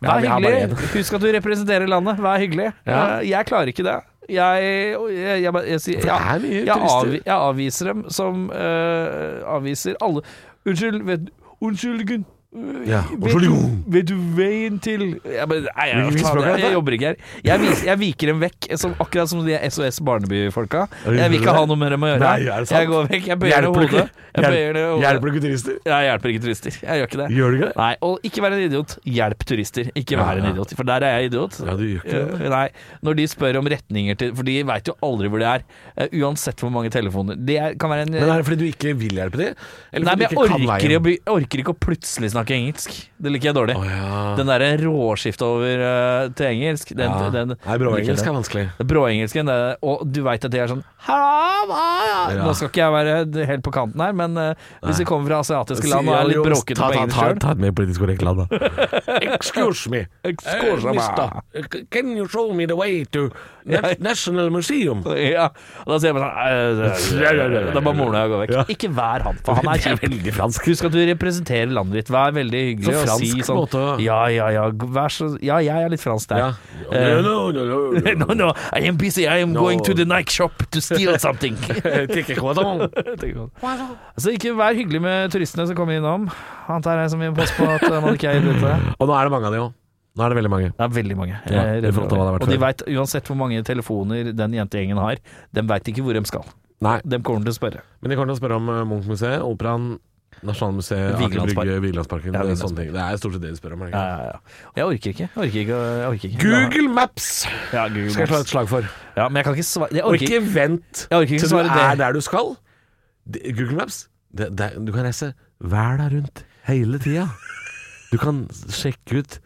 [SPEAKER 3] Ja,
[SPEAKER 4] Vær
[SPEAKER 3] vi har bare
[SPEAKER 4] hyggelig. Husk at du representerer landet. Vær hyggelig.
[SPEAKER 3] Ja.
[SPEAKER 4] Eh, Jeg klarer ikke det. Jeg, jeg, jeg, jeg, sier-
[SPEAKER 3] Det
[SPEAKER 4] jeg,
[SPEAKER 3] er mye
[SPEAKER 4] jeg, avvi,
[SPEAKER 3] turister.
[SPEAKER 4] jeg avviser dem som eh, avviser alle Unnskyld, vet Unnskyld, Gunn. Eh,
[SPEAKER 3] Ja,
[SPEAKER 4] Vet,
[SPEAKER 3] unnskyld,
[SPEAKER 4] du,
[SPEAKER 3] Gunn.
[SPEAKER 4] vet du veien til jeg, bare, Nei, jeg,
[SPEAKER 3] Hvilket
[SPEAKER 4] faen,
[SPEAKER 3] språk er
[SPEAKER 4] jeg,
[SPEAKER 3] dette?
[SPEAKER 4] jeg jobber ikke her. Jeg, vis, jeg viker dem vekk, som, akkurat som de SOS Barneby-folka. Jeg vil ikke ha noe med dem å gjøre.
[SPEAKER 3] Nei, er det sant?
[SPEAKER 4] Jeg går vekk. Jeg bøyer ned hodet. Jeg bøyer ned hodet.
[SPEAKER 3] Hjelper du ikke turister?
[SPEAKER 4] Jeg hjelper ikke turister. Jeg gjør ikke det.
[SPEAKER 3] Gjør du ikke det?
[SPEAKER 4] Nei, og ikke vær en idiot. Hjelp turister. Ikke
[SPEAKER 3] Ja,
[SPEAKER 4] vær en
[SPEAKER 3] ja.
[SPEAKER 4] idiot, for der er jeg idiot.
[SPEAKER 3] Ja, du gjør ikke det.
[SPEAKER 4] Eh, Nei, når de spør om retninger til For de veit jo aldri hvor de er, eh, uansett hvor mange telefoner. Det er, kan være en
[SPEAKER 3] Men er det fordi du ikke vil hjelpe dem?
[SPEAKER 4] Nei, men jeg orker, å, by- jeg orker ikke å plutselig snakke engelsk. Det liker jeg dårlig.
[SPEAKER 3] Å ja.
[SPEAKER 4] Den derre råskiftet over eh, til engelsk, den,
[SPEAKER 3] Ja.
[SPEAKER 4] den
[SPEAKER 3] Nei, bråengelsk er
[SPEAKER 4] liker jeg
[SPEAKER 3] vanskelig.
[SPEAKER 4] det. Bråengelsken, det, og du veit at det er sånn «Ha, hva?»
[SPEAKER 3] Ja.
[SPEAKER 4] Nå skal ikke jeg være helt på kanten her, men eh, hvis vi kommer fra asiatiske land og
[SPEAKER 3] Ja,
[SPEAKER 4] er litt
[SPEAKER 3] jo,
[SPEAKER 4] bråkete
[SPEAKER 3] ta-
[SPEAKER 4] på
[SPEAKER 3] ta-
[SPEAKER 4] engelsk
[SPEAKER 3] ta-
[SPEAKER 4] sjøl
[SPEAKER 3] Ta et mer politisk korrekt land, da. Excuse me.
[SPEAKER 4] Excuse me.
[SPEAKER 3] mister, Can you show me the way to Na- National Museum?
[SPEAKER 4] Ja, og da sier jeg bare sånn «Eh, eh, eh». Da bare moren og jeg går vekk.
[SPEAKER 3] Ja.
[SPEAKER 4] Ikke vær han, for han er
[SPEAKER 3] Det er
[SPEAKER 4] kjip.
[SPEAKER 3] veldig fransk.
[SPEAKER 4] Husk at du representerer landet ditt. Vær veldig
[SPEAKER 3] Så
[SPEAKER 4] hyggelig og si
[SPEAKER 3] fransk
[SPEAKER 4] sånn
[SPEAKER 3] måte å-
[SPEAKER 4] Ja, ja, ja, g- vær så Ja, jeg er litt fransk der.
[SPEAKER 3] Ja.
[SPEAKER 4] Eh,
[SPEAKER 3] No, no, no, no.
[SPEAKER 4] No, no, I am busy. I am
[SPEAKER 3] No.
[SPEAKER 4] going to the Nike shop to steal something.
[SPEAKER 3] Tikke kvadrant.
[SPEAKER 4] Så ikke vær hyggelig med turistene som kommer innom. Antar jeg som vi må passe på at man ikke er ute.
[SPEAKER 3] Og nå er det mange av de òg. Nå er det veldig mange.
[SPEAKER 4] Det er veldig mange.
[SPEAKER 3] Ja,
[SPEAKER 4] Eh,
[SPEAKER 3] i forhold til hva det har vært
[SPEAKER 4] og de
[SPEAKER 3] før.
[SPEAKER 4] veit uansett hvor mange telefoner den jentegjengen har, de veit ikke hvor de skal.
[SPEAKER 3] Nei,
[SPEAKER 4] De kommer til å spørre.
[SPEAKER 3] men de kommer til å spørre om eh, Munch-museet, Operaen, Nasjonalmuseet, Aker
[SPEAKER 4] Vigelandspark.
[SPEAKER 3] Brygge, Vigelandsparken. det er
[SPEAKER 4] Ja, Vigelandspark.
[SPEAKER 3] sånne ting. Det er stort sett det de spør om. er det
[SPEAKER 4] Ja,
[SPEAKER 3] ikke?
[SPEAKER 4] ja, ja. Og Jeg orker ikke. Jeg orker ikke, jeg orker ikke.
[SPEAKER 3] Google Maps
[SPEAKER 4] Ja, Google
[SPEAKER 3] skal jeg slå
[SPEAKER 4] Maps.
[SPEAKER 3] et slag for.
[SPEAKER 4] Ja, men jeg kan ikke svare Jeg
[SPEAKER 3] Og
[SPEAKER 4] orker
[SPEAKER 3] ikke
[SPEAKER 4] ikke.
[SPEAKER 3] vent
[SPEAKER 4] Jeg orker ikke
[SPEAKER 3] til du
[SPEAKER 4] svare det.
[SPEAKER 3] er der du skal. Det- Google Maps, det, det, du kan reise verden rundt hele tida. Du kan sjekke ut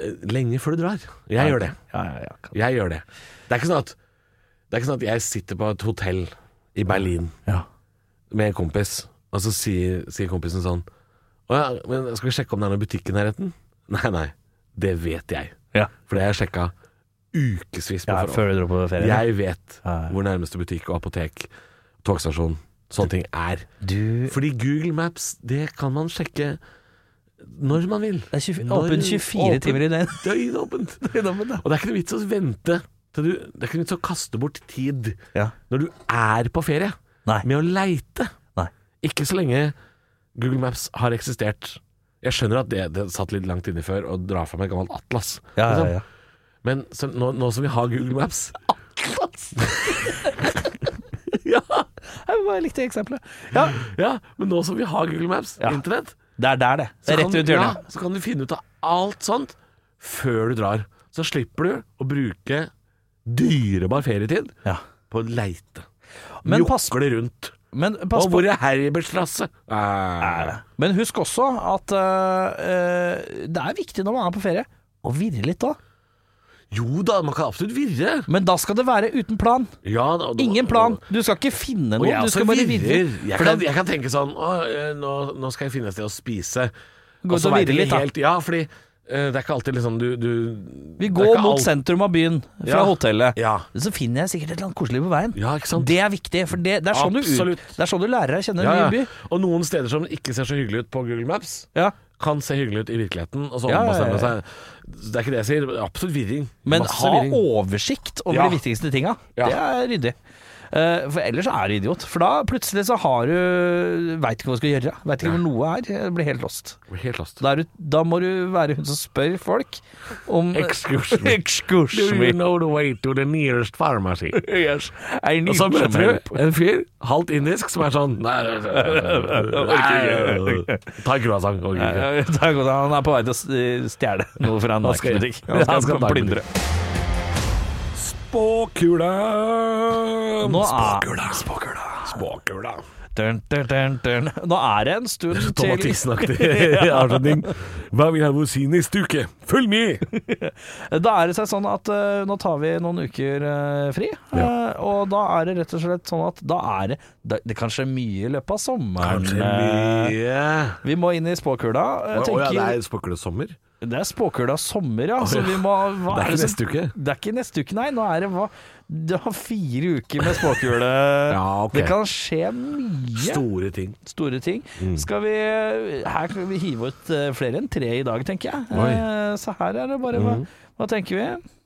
[SPEAKER 3] eh, lenge før du drar. Jeg gjør det.
[SPEAKER 4] Ja, ja, ja. kan-
[SPEAKER 3] Jeg gjør det. Det er ikke sånn at Det er ikke sånn at jeg sitter på et hotell i Berlin
[SPEAKER 4] Ja.
[SPEAKER 3] med en kompis, og så sier, sier kompisen sånn Å ja, men skal vi sjekke om det er noen butikk i nærheten? Nei, nei. Det vet jeg.
[SPEAKER 4] Ja.
[SPEAKER 3] For det har jeg sjekka ukevis på
[SPEAKER 4] Ja,
[SPEAKER 3] forhånd.
[SPEAKER 4] før du dro på ferie?
[SPEAKER 3] Jeg vet
[SPEAKER 4] Ja, ja.
[SPEAKER 3] hvor nærmeste butikk og apotek, togstasjon, sånne ting er.
[SPEAKER 4] Du
[SPEAKER 3] Fordi Google Maps, det kan man sjekke når man vil.
[SPEAKER 4] Det er 24,
[SPEAKER 3] Når-
[SPEAKER 4] åpen 24
[SPEAKER 3] åpen.
[SPEAKER 4] timer i døgnet.
[SPEAKER 3] Døgnåpent. Og det er ikke noe vits å vente. Til du, det er ikke noe vits å kaste bort tid
[SPEAKER 4] Ja.
[SPEAKER 3] når du er på ferie,
[SPEAKER 4] Nei.
[SPEAKER 3] med å leite.
[SPEAKER 4] Nei.
[SPEAKER 3] Ikke så lenge Google Maps har eksistert. Jeg skjønner at det, det satt litt langt inni før å dra fram et gammelt atlas.
[SPEAKER 4] Ja, ja,
[SPEAKER 3] liksom.
[SPEAKER 4] ja.
[SPEAKER 3] Men så, nå, nå som vi har Google Maps ja,
[SPEAKER 4] Jeg bare likte eksempelet. Ja,
[SPEAKER 3] ja, men nå som vi har Google Maps,
[SPEAKER 4] Ja.
[SPEAKER 3] internett
[SPEAKER 4] det er der, det. Det
[SPEAKER 3] så
[SPEAKER 4] er rett
[SPEAKER 3] kan-
[SPEAKER 4] rundt hjørnet.
[SPEAKER 3] Ja, så kan du finne ut av alt sånt før du drar. Så slipper du å bruke dyrebar ferietid
[SPEAKER 4] Ja.
[SPEAKER 3] på å leite.
[SPEAKER 4] Men pass-
[SPEAKER 3] Jokle rundt.
[SPEAKER 4] Men pass
[SPEAKER 3] og
[SPEAKER 4] på
[SPEAKER 3] hvor er Herbertstrasse? Eh,
[SPEAKER 4] Men husk også at øh, øh, det er viktig når man er på ferie, å virre litt òg.
[SPEAKER 3] jo da, man kan absolutt virre.
[SPEAKER 4] Men da skal det være uten plan.
[SPEAKER 3] Ja, da-
[SPEAKER 4] Ingen plan. Du skal ikke finne
[SPEAKER 3] Og
[SPEAKER 4] noe.
[SPEAKER 3] jeg
[SPEAKER 4] Du
[SPEAKER 3] også
[SPEAKER 4] skal bare
[SPEAKER 3] virrer.
[SPEAKER 4] virre.
[SPEAKER 3] Jeg,
[SPEAKER 4] For
[SPEAKER 3] kan,
[SPEAKER 4] det-
[SPEAKER 3] jeg kan tenke sånn å, eh, nå, nå skal jeg finne et sted å spise. Og
[SPEAKER 4] Gå ut
[SPEAKER 3] så
[SPEAKER 4] og
[SPEAKER 3] vet
[SPEAKER 4] virre
[SPEAKER 3] jeg
[SPEAKER 4] litt,
[SPEAKER 3] ikke
[SPEAKER 4] da.
[SPEAKER 3] helt Ja, fordi eh, det er ikke alltid liksom du, du
[SPEAKER 4] Vi
[SPEAKER 3] det er
[SPEAKER 4] går
[SPEAKER 3] ikke
[SPEAKER 4] mot
[SPEAKER 3] alt-
[SPEAKER 4] sentrum av byen, fra
[SPEAKER 3] Ja.
[SPEAKER 4] hotellet.
[SPEAKER 3] Ja.
[SPEAKER 4] Så finner jeg sikkert et eller annet koselig på veien.
[SPEAKER 3] Ja, ikke sant?
[SPEAKER 4] Det er viktig, for det, det, er, sånn du,
[SPEAKER 3] Absolutt.
[SPEAKER 4] det er sånn du lærer deg å kjenne en
[SPEAKER 3] Ja, ja.
[SPEAKER 4] ny by.
[SPEAKER 3] Og noen steder som ikke ser så hyggelig ut på Google Maps,
[SPEAKER 4] Ja.
[SPEAKER 3] kan se hyggelig ut i virkeligheten, og så
[SPEAKER 4] Ja, ja, ja,
[SPEAKER 3] ombestemmer
[SPEAKER 4] ja.
[SPEAKER 3] seg. Det er ikke det jeg sier. Absolutt virring.
[SPEAKER 4] Men
[SPEAKER 3] Masse
[SPEAKER 4] ha
[SPEAKER 3] virring.
[SPEAKER 4] oversikt over
[SPEAKER 3] Ja.
[SPEAKER 4] de viktigste tinga.
[SPEAKER 3] Ja.
[SPEAKER 4] Det er ryddig. Eh, For ellers er du idiot. For da plutselig så har du Veit ikke hva du skal gjøre. Veit ikke hvor noe er. Jeg Blir helt lost.
[SPEAKER 3] Helt lost.
[SPEAKER 4] Da, er du, da må du være hun som spør folk om
[SPEAKER 3] Excuse me.
[SPEAKER 4] Excuse me.
[SPEAKER 3] know the way to the nearest pharmacy?
[SPEAKER 4] Yes. I need
[SPEAKER 3] Og så
[SPEAKER 4] some
[SPEAKER 3] møter
[SPEAKER 4] help.
[SPEAKER 3] du en fyr, halvt indisk, som er sånn Nei, ta en croissant. orker ikke.
[SPEAKER 4] Ja, takk, og da- Han er på vei til å s- stjele noe fra en
[SPEAKER 3] Han skal-
[SPEAKER 4] narkotikabutikk.
[SPEAKER 3] han skal ta en
[SPEAKER 4] Spåkula! Nå er,
[SPEAKER 3] Spåkula. Spåkula.
[SPEAKER 4] dun, dun, dun, dun. Nå er det en stund
[SPEAKER 3] Thomas
[SPEAKER 4] til
[SPEAKER 3] Tissen-aktig avslutning. Hva vil han si neste uke? Følg med!
[SPEAKER 4] Da er det seg sånn at eh, nå tar vi noen uker eh, fri, eh, og da er det rett og slett sånn at da er det Det, det kan skje mye i løpet av sommeren. Eh, Vi må inn i spåkula.
[SPEAKER 3] Å
[SPEAKER 4] Jeg
[SPEAKER 3] ja,
[SPEAKER 4] tenker-
[SPEAKER 3] det er spåkulesommer?
[SPEAKER 4] Det er spåkula sommer, ja. Så
[SPEAKER 3] ja.
[SPEAKER 4] vi må hva
[SPEAKER 3] Det er ikke
[SPEAKER 4] som-
[SPEAKER 3] neste uke.
[SPEAKER 4] Det er ikke neste uke, nei. Nå er det hva Du har fire uker med spåkule.
[SPEAKER 3] Ja, ok.
[SPEAKER 4] Det kan skje mye
[SPEAKER 3] Store ting.
[SPEAKER 4] store ting.
[SPEAKER 3] Mm.
[SPEAKER 4] Skal vi Her kan vi hive ut eh, flere enn tre i dag, tenker jeg.
[SPEAKER 3] Oi. Mm.
[SPEAKER 4] Eh, Så her er det bare hva, hva tenker vi?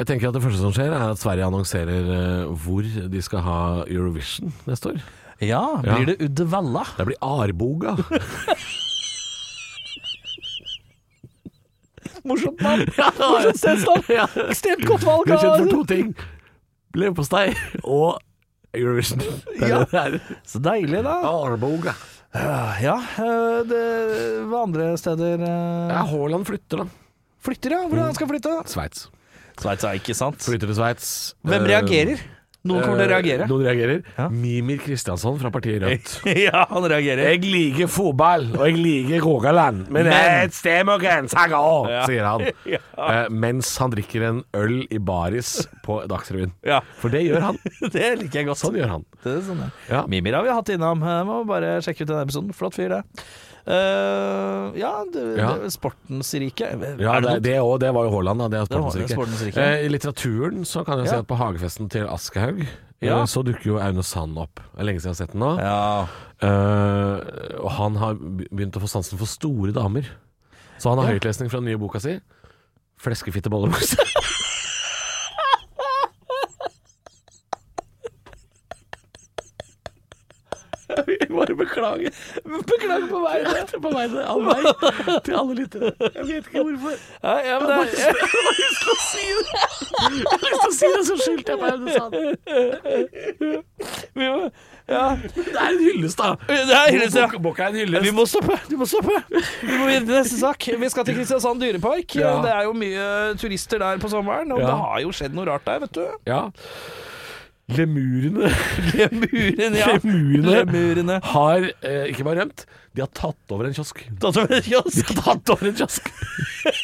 [SPEAKER 3] Jeg tenker at Det første som skjer, er at Sverige annonserer eh, hvor de skal ha Eurovision neste år.
[SPEAKER 4] Ja,
[SPEAKER 3] Ja.
[SPEAKER 4] blir det Uddevalla?
[SPEAKER 3] Det blir Arboga.
[SPEAKER 4] Morsomt navn! Morsomt stedsnavn!
[SPEAKER 3] Ja.
[SPEAKER 4] Ekstremt godt valg. altså.
[SPEAKER 3] Vi er kjent for
[SPEAKER 4] av-
[SPEAKER 3] to ting. Leverpostei og Eurovision. Det er
[SPEAKER 4] Ja.
[SPEAKER 3] det det er.
[SPEAKER 4] Så deilig, da.
[SPEAKER 3] Arboga.
[SPEAKER 4] Ja, eh, det, hva andre steder eh,
[SPEAKER 3] Ja, Haaland flytter, da.
[SPEAKER 4] Flytter, ja? Hvordan han skal flytte?
[SPEAKER 3] Sveits.
[SPEAKER 4] Sveits er ikke sant.
[SPEAKER 3] Flytter til Sveits.
[SPEAKER 4] Hvem
[SPEAKER 3] Eh,
[SPEAKER 4] reagerer? Noen kommer til å
[SPEAKER 3] eh,
[SPEAKER 4] reagere.
[SPEAKER 3] Noen reagerer.
[SPEAKER 4] Ja.
[SPEAKER 3] Mimir Kristiansson fra partiet Rødt.
[SPEAKER 4] ja, han reagerer.
[SPEAKER 3] Jeg liker fotball, og jeg liker Rogaland, men det er
[SPEAKER 4] Men-
[SPEAKER 3] et sted med grenser går, sier han.
[SPEAKER 4] Ja.
[SPEAKER 3] Eh, mens han drikker en øl i baris på Dagsrevyen.
[SPEAKER 4] Ja.
[SPEAKER 3] For det gjør han.
[SPEAKER 4] Det liker jeg godt.
[SPEAKER 3] Sånn gjør han.
[SPEAKER 4] Det er sånn, ja.
[SPEAKER 3] Ja.
[SPEAKER 4] Mimir har vi hatt innom. Jeg må bare sjekke ut den episoden. Flott fyr, det. Eh, ja, det,
[SPEAKER 3] Ja.
[SPEAKER 4] det, sportens rike.
[SPEAKER 3] Ja,
[SPEAKER 4] Er
[SPEAKER 3] det,
[SPEAKER 4] noe-
[SPEAKER 3] det, og det var jo Haaland, da. Det er
[SPEAKER 4] Det var-
[SPEAKER 3] sportens
[SPEAKER 4] det er sportens
[SPEAKER 3] rike.
[SPEAKER 4] rike.
[SPEAKER 3] Eh, I litteraturen så kan jeg si
[SPEAKER 4] Ja.
[SPEAKER 3] at på hagefesten til Aschehoug
[SPEAKER 4] Ja.
[SPEAKER 3] eh, så dukker jo Aune Sand opp. Det er lenge siden jeg har sett den nå.
[SPEAKER 4] Ja.
[SPEAKER 3] Eh, og han har be- begynt å få sansen for store damer. Så han har høytlesning fra den nye boka si. 'Fleskefitte bollebukse'. Jeg bare beklager. Beklager på vegne På vegne av meg til alle lyttere. Jeg vet ikke hvorfor.
[SPEAKER 4] Ja, ja, men det,
[SPEAKER 3] Jeg har lyst til å si det. Jeg har lyst til å si det, så skyldte jeg på Aune Sand.
[SPEAKER 4] vi, må, ja.
[SPEAKER 3] Det er en hyllest, da.
[SPEAKER 4] det er hyllest, ja.
[SPEAKER 3] Boka- Boka er en hyllest.
[SPEAKER 4] vi må stoppe! Vi må stoppe Vi må videre til neste sak. Vi skal til Kristiansand dyrepark.
[SPEAKER 3] Ja.
[SPEAKER 4] Det er jo mye turister der på sommeren, og
[SPEAKER 3] Ja.
[SPEAKER 4] det har jo skjedd noe rart der, vet du.
[SPEAKER 3] Ja. Lemurene
[SPEAKER 4] Lemurene, ja.
[SPEAKER 3] Lemurene.
[SPEAKER 4] Lemurene.
[SPEAKER 3] har eh, ikke bare rømt, de har tatt over en kiosk. De
[SPEAKER 4] Tatt over en kiosk.
[SPEAKER 3] har tatt over en kiosk!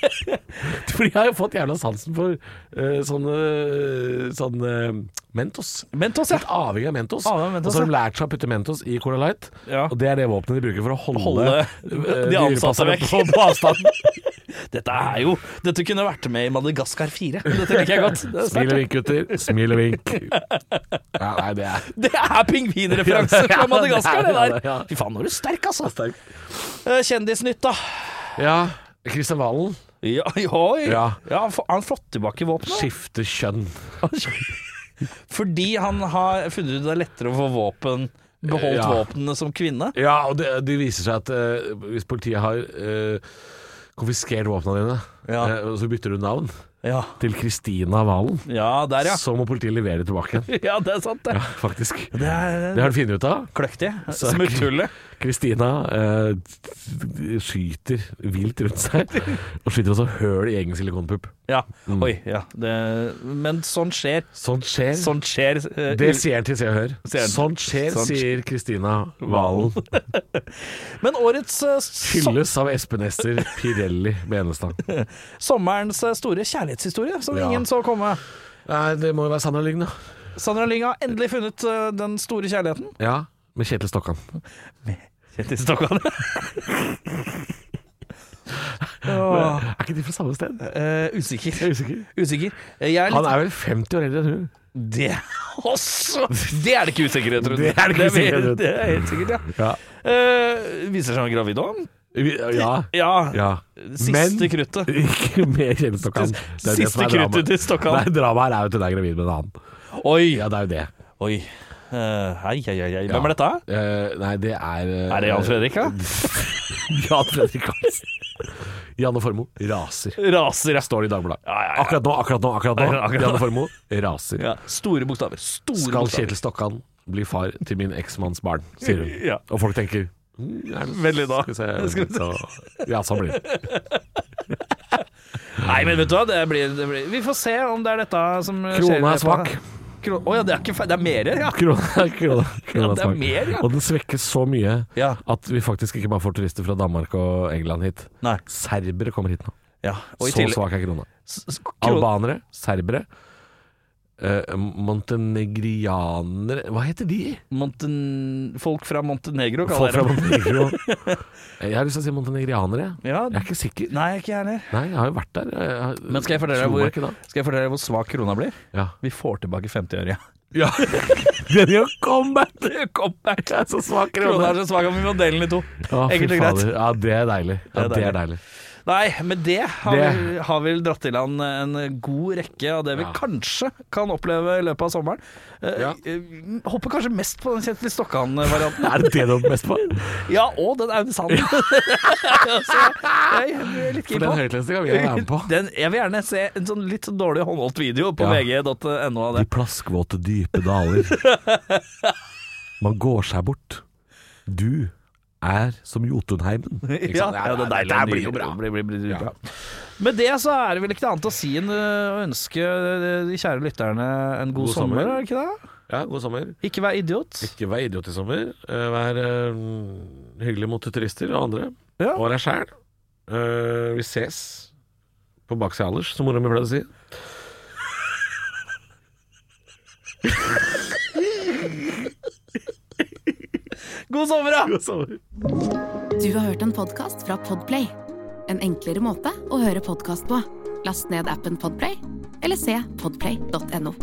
[SPEAKER 3] For de har jo fått jævla sansen for eh, sånne, sånne eh, Mentos.
[SPEAKER 4] Mentos, ja.
[SPEAKER 3] Litt avhengig av Mentos.
[SPEAKER 4] Avhengig av Mentos,
[SPEAKER 3] og så har de lært seg å putte Mentos i Cola Light.
[SPEAKER 4] Ja.
[SPEAKER 3] Og det er det våpenet de bruker for å holde,
[SPEAKER 4] Holde
[SPEAKER 3] eh,
[SPEAKER 4] de ansatte
[SPEAKER 3] dyrepasserne
[SPEAKER 4] vekk.
[SPEAKER 3] På, på avstand.
[SPEAKER 4] Dette er jo Dette kunne vært med i Madagaskar 4. Dette liker jeg godt. Det
[SPEAKER 3] Smil
[SPEAKER 4] er, sterkt.
[SPEAKER 3] og vink, gutter. Smil og vink. Ja, nei, det er
[SPEAKER 4] det er pingvinreferanse fra Madagaskar,
[SPEAKER 3] Ja,
[SPEAKER 4] det
[SPEAKER 3] det er
[SPEAKER 4] der.
[SPEAKER 3] det, ja.
[SPEAKER 4] Fy faen, nå er du sterk, altså. Eh, Kjendisnytt, da.
[SPEAKER 3] Ja. Kristian Valen
[SPEAKER 4] Ja, oi.
[SPEAKER 3] Ja.
[SPEAKER 4] Ja, han får- han har fått tilbake våpenet.
[SPEAKER 3] skifter kjønn.
[SPEAKER 4] Fordi han har funnet ut det er lettere å få våpen beholdt
[SPEAKER 3] Ja.
[SPEAKER 4] våpnene som kvinne.
[SPEAKER 3] Ja, og det, det viser seg at eh, hvis politiet har eh, konfiskert våpnene dine,
[SPEAKER 4] Ja.
[SPEAKER 3] eh, og så bytter du navn
[SPEAKER 4] Ja,
[SPEAKER 3] til Kristina Valen,
[SPEAKER 4] ja der, ja.
[SPEAKER 3] så må politiet levere det tilbake igjen.
[SPEAKER 4] Ja, det er sant, det.
[SPEAKER 3] Ja, faktisk. Det
[SPEAKER 4] er-
[SPEAKER 3] har de funnet ut av.
[SPEAKER 4] Kløktig.
[SPEAKER 3] Så-
[SPEAKER 4] Smutthullet.
[SPEAKER 3] Kristina eh, skyter vilt rundt seg, og skyter også høl i egen silikonpupp.
[SPEAKER 4] Ja.
[SPEAKER 3] Mm.
[SPEAKER 4] Oi, ja. Det, men sånn skjer.
[SPEAKER 3] Sånt skjer.
[SPEAKER 4] Sånt skjer. eh,
[SPEAKER 3] det sier han til Se og Hør.
[SPEAKER 4] Sier han.
[SPEAKER 3] Sånt skjer,
[SPEAKER 4] Sånt skjer.
[SPEAKER 3] sier Kristina Valen.
[SPEAKER 4] Men årets eh, so
[SPEAKER 3] Hylles av Espen Ester Pirelli Benestad.
[SPEAKER 4] sommerens eh, store kjærlighetshistorie, som
[SPEAKER 3] Ja.
[SPEAKER 4] ingen så komme.
[SPEAKER 3] Nei, det må jo være Sandra Lyng, da.
[SPEAKER 4] Sandra Lyng har endelig funnet eh, den store kjærligheten.
[SPEAKER 3] Ja, med Kjetil Stokkan.
[SPEAKER 4] Kjetil Stokkan. Åh,
[SPEAKER 3] Er ikke de fra samme sted?
[SPEAKER 4] eh, usikker.
[SPEAKER 3] Jeg er usikker.
[SPEAKER 4] Usikker. Eh, Jeg er
[SPEAKER 3] Han
[SPEAKER 4] litt
[SPEAKER 3] er vel 50 år eldre enn hun.
[SPEAKER 4] Det også! Det er det ikke usikkerhet rundt.
[SPEAKER 3] Det er det ikke
[SPEAKER 4] mer-
[SPEAKER 3] usikkerhet rundt.
[SPEAKER 4] Det er helt sikkert, ja.
[SPEAKER 3] Ja.
[SPEAKER 4] Eh, viser seg han gravid òg?
[SPEAKER 3] Ja.
[SPEAKER 4] Ja.
[SPEAKER 3] ja.
[SPEAKER 4] Siste kruttet.
[SPEAKER 3] Ikke med Kjell Stokkan. Det er det som
[SPEAKER 4] Siste
[SPEAKER 3] er drama.
[SPEAKER 4] kruttet til Stokkan.
[SPEAKER 3] Nei, dramaet er jo at hun er gravid med en annen.
[SPEAKER 4] Oi!
[SPEAKER 3] Ja, det er jo det.
[SPEAKER 4] Oi. Eh, hei, hei, hei, hei. Hvem er dette?
[SPEAKER 3] Eh, nei, det er eh,
[SPEAKER 4] Er det Jan Fredrik, da?
[SPEAKER 3] Jan Fredrik Karlsen. Janne Formoe raser.
[SPEAKER 4] Raser, ja.
[SPEAKER 3] Står det i Dagbladet.
[SPEAKER 4] Ja, ja, ja.
[SPEAKER 3] Akkurat nå, akkurat nå, akkurat nå.
[SPEAKER 4] Ja, akkurat nå.
[SPEAKER 3] Janne Formoe raser.
[SPEAKER 4] ja. Store bokstaver. Store
[SPEAKER 3] Skal
[SPEAKER 4] bokstaver.
[SPEAKER 3] Kjetil Stokkan bli far til min eksmanns barn, sier hun.
[SPEAKER 4] Ja.
[SPEAKER 3] Og folk tenker «Mm, er det-
[SPEAKER 4] Veldig da.
[SPEAKER 3] Skal vi se, så- Ja, sånn blir det.
[SPEAKER 4] Nei, men vet du hva, det blir, det blir Vi får se om det er dette som skjer.
[SPEAKER 3] Krona er svak.
[SPEAKER 4] Å ja, det er ikke feil. Det er mer, ja.
[SPEAKER 3] Krona, krona, krona
[SPEAKER 4] Ja,
[SPEAKER 3] er
[SPEAKER 4] det er
[SPEAKER 3] svak.
[SPEAKER 4] mer, ja.
[SPEAKER 3] Og den svekkes så mye
[SPEAKER 4] Ja.
[SPEAKER 3] at vi faktisk ikke bare får turister fra Danmark og England hit.
[SPEAKER 4] Nei.
[SPEAKER 3] Serbere kommer hit nå.
[SPEAKER 4] ja. Og i
[SPEAKER 3] Så
[SPEAKER 4] tillegg-
[SPEAKER 3] svak er krona.
[SPEAKER 4] s- s- kron-
[SPEAKER 3] Albanere, serbere, eh, montenegrianere Hva heter de?
[SPEAKER 4] Monten, folk fra Montenegro
[SPEAKER 3] Folk fra
[SPEAKER 4] kaller jeg det.
[SPEAKER 3] Montenegro. Jeg har lyst til å si montenegrianere.
[SPEAKER 4] Ja.
[SPEAKER 3] Jeg er ikke sikker.
[SPEAKER 4] Nei, ikke jeg heller.
[SPEAKER 3] Nei, jeg har jo vært der. Jeg har-
[SPEAKER 4] Men skal jeg fortelle deg
[SPEAKER 3] Slo meg ikke
[SPEAKER 4] hvor,
[SPEAKER 3] da.
[SPEAKER 4] skal jeg fortelle deg hvor svak krona blir?
[SPEAKER 3] Ja.
[SPEAKER 4] Vi får tilbake 50-øre. Ja.
[SPEAKER 3] Ja. Den gjør comeback! Den gjør comeback. Det er så svak
[SPEAKER 4] Krona er
[SPEAKER 3] krone.
[SPEAKER 4] så svak at vi må dele den i to.
[SPEAKER 3] Å, fy
[SPEAKER 4] Enkelt og greit.
[SPEAKER 3] fader. Ja, det er deilig. Ja, det er deilig.
[SPEAKER 4] Nei, med det har,
[SPEAKER 3] Det-
[SPEAKER 4] Vi, har vi dratt i land en god rekke av det vi
[SPEAKER 3] Ja.
[SPEAKER 4] kanskje kan oppleve i løpet av sommeren. Eh,
[SPEAKER 3] Ja.
[SPEAKER 4] eh, Håper kanskje mest på den Kjetil Stokkan-varianten.
[SPEAKER 3] Er det det du er mest på?
[SPEAKER 4] Ja, og den Aune Sand. Så jeg er litt
[SPEAKER 3] For
[SPEAKER 4] keen
[SPEAKER 3] den
[SPEAKER 4] på.
[SPEAKER 3] høytlesninga vil jeg være med på.
[SPEAKER 4] Den, jeg vil gjerne se en sånn litt dårlig håndholdt video på
[SPEAKER 3] Ja.
[SPEAKER 4] vg.no av det.
[SPEAKER 3] De plaskvåte, dype daler. Man går seg bort. Du er som Jotunheimen. Ikke
[SPEAKER 4] Ja,
[SPEAKER 3] sant?
[SPEAKER 4] ja, det er deilig.
[SPEAKER 3] Det blir jo bra.
[SPEAKER 4] Blir, blir, blir, blir
[SPEAKER 3] Ja.
[SPEAKER 4] bra. Med det så er det vel ikke noe annet å si enn øh, å ønske øh, de kjære lytterne en god,
[SPEAKER 3] God
[SPEAKER 4] sommer,
[SPEAKER 3] sommer.
[SPEAKER 4] er det ikke det?
[SPEAKER 3] Ja, god sommer.
[SPEAKER 4] Ikke vær idiot.
[SPEAKER 3] Ikke vær idiot i sommer. Eh, Vær eh, hyggelig mot turister og andre.
[SPEAKER 4] Ja.
[SPEAKER 3] Og deg sjæl. Eh, vi ses på baksida Anders, som mora mi pleide å si.
[SPEAKER 4] God sommer, da!
[SPEAKER 3] God sommer.
[SPEAKER 1] Du har hørt en podcast fra Podplay. En enklere måte å høre podcast på. Last ned appen Podplay, eller se podplay.no.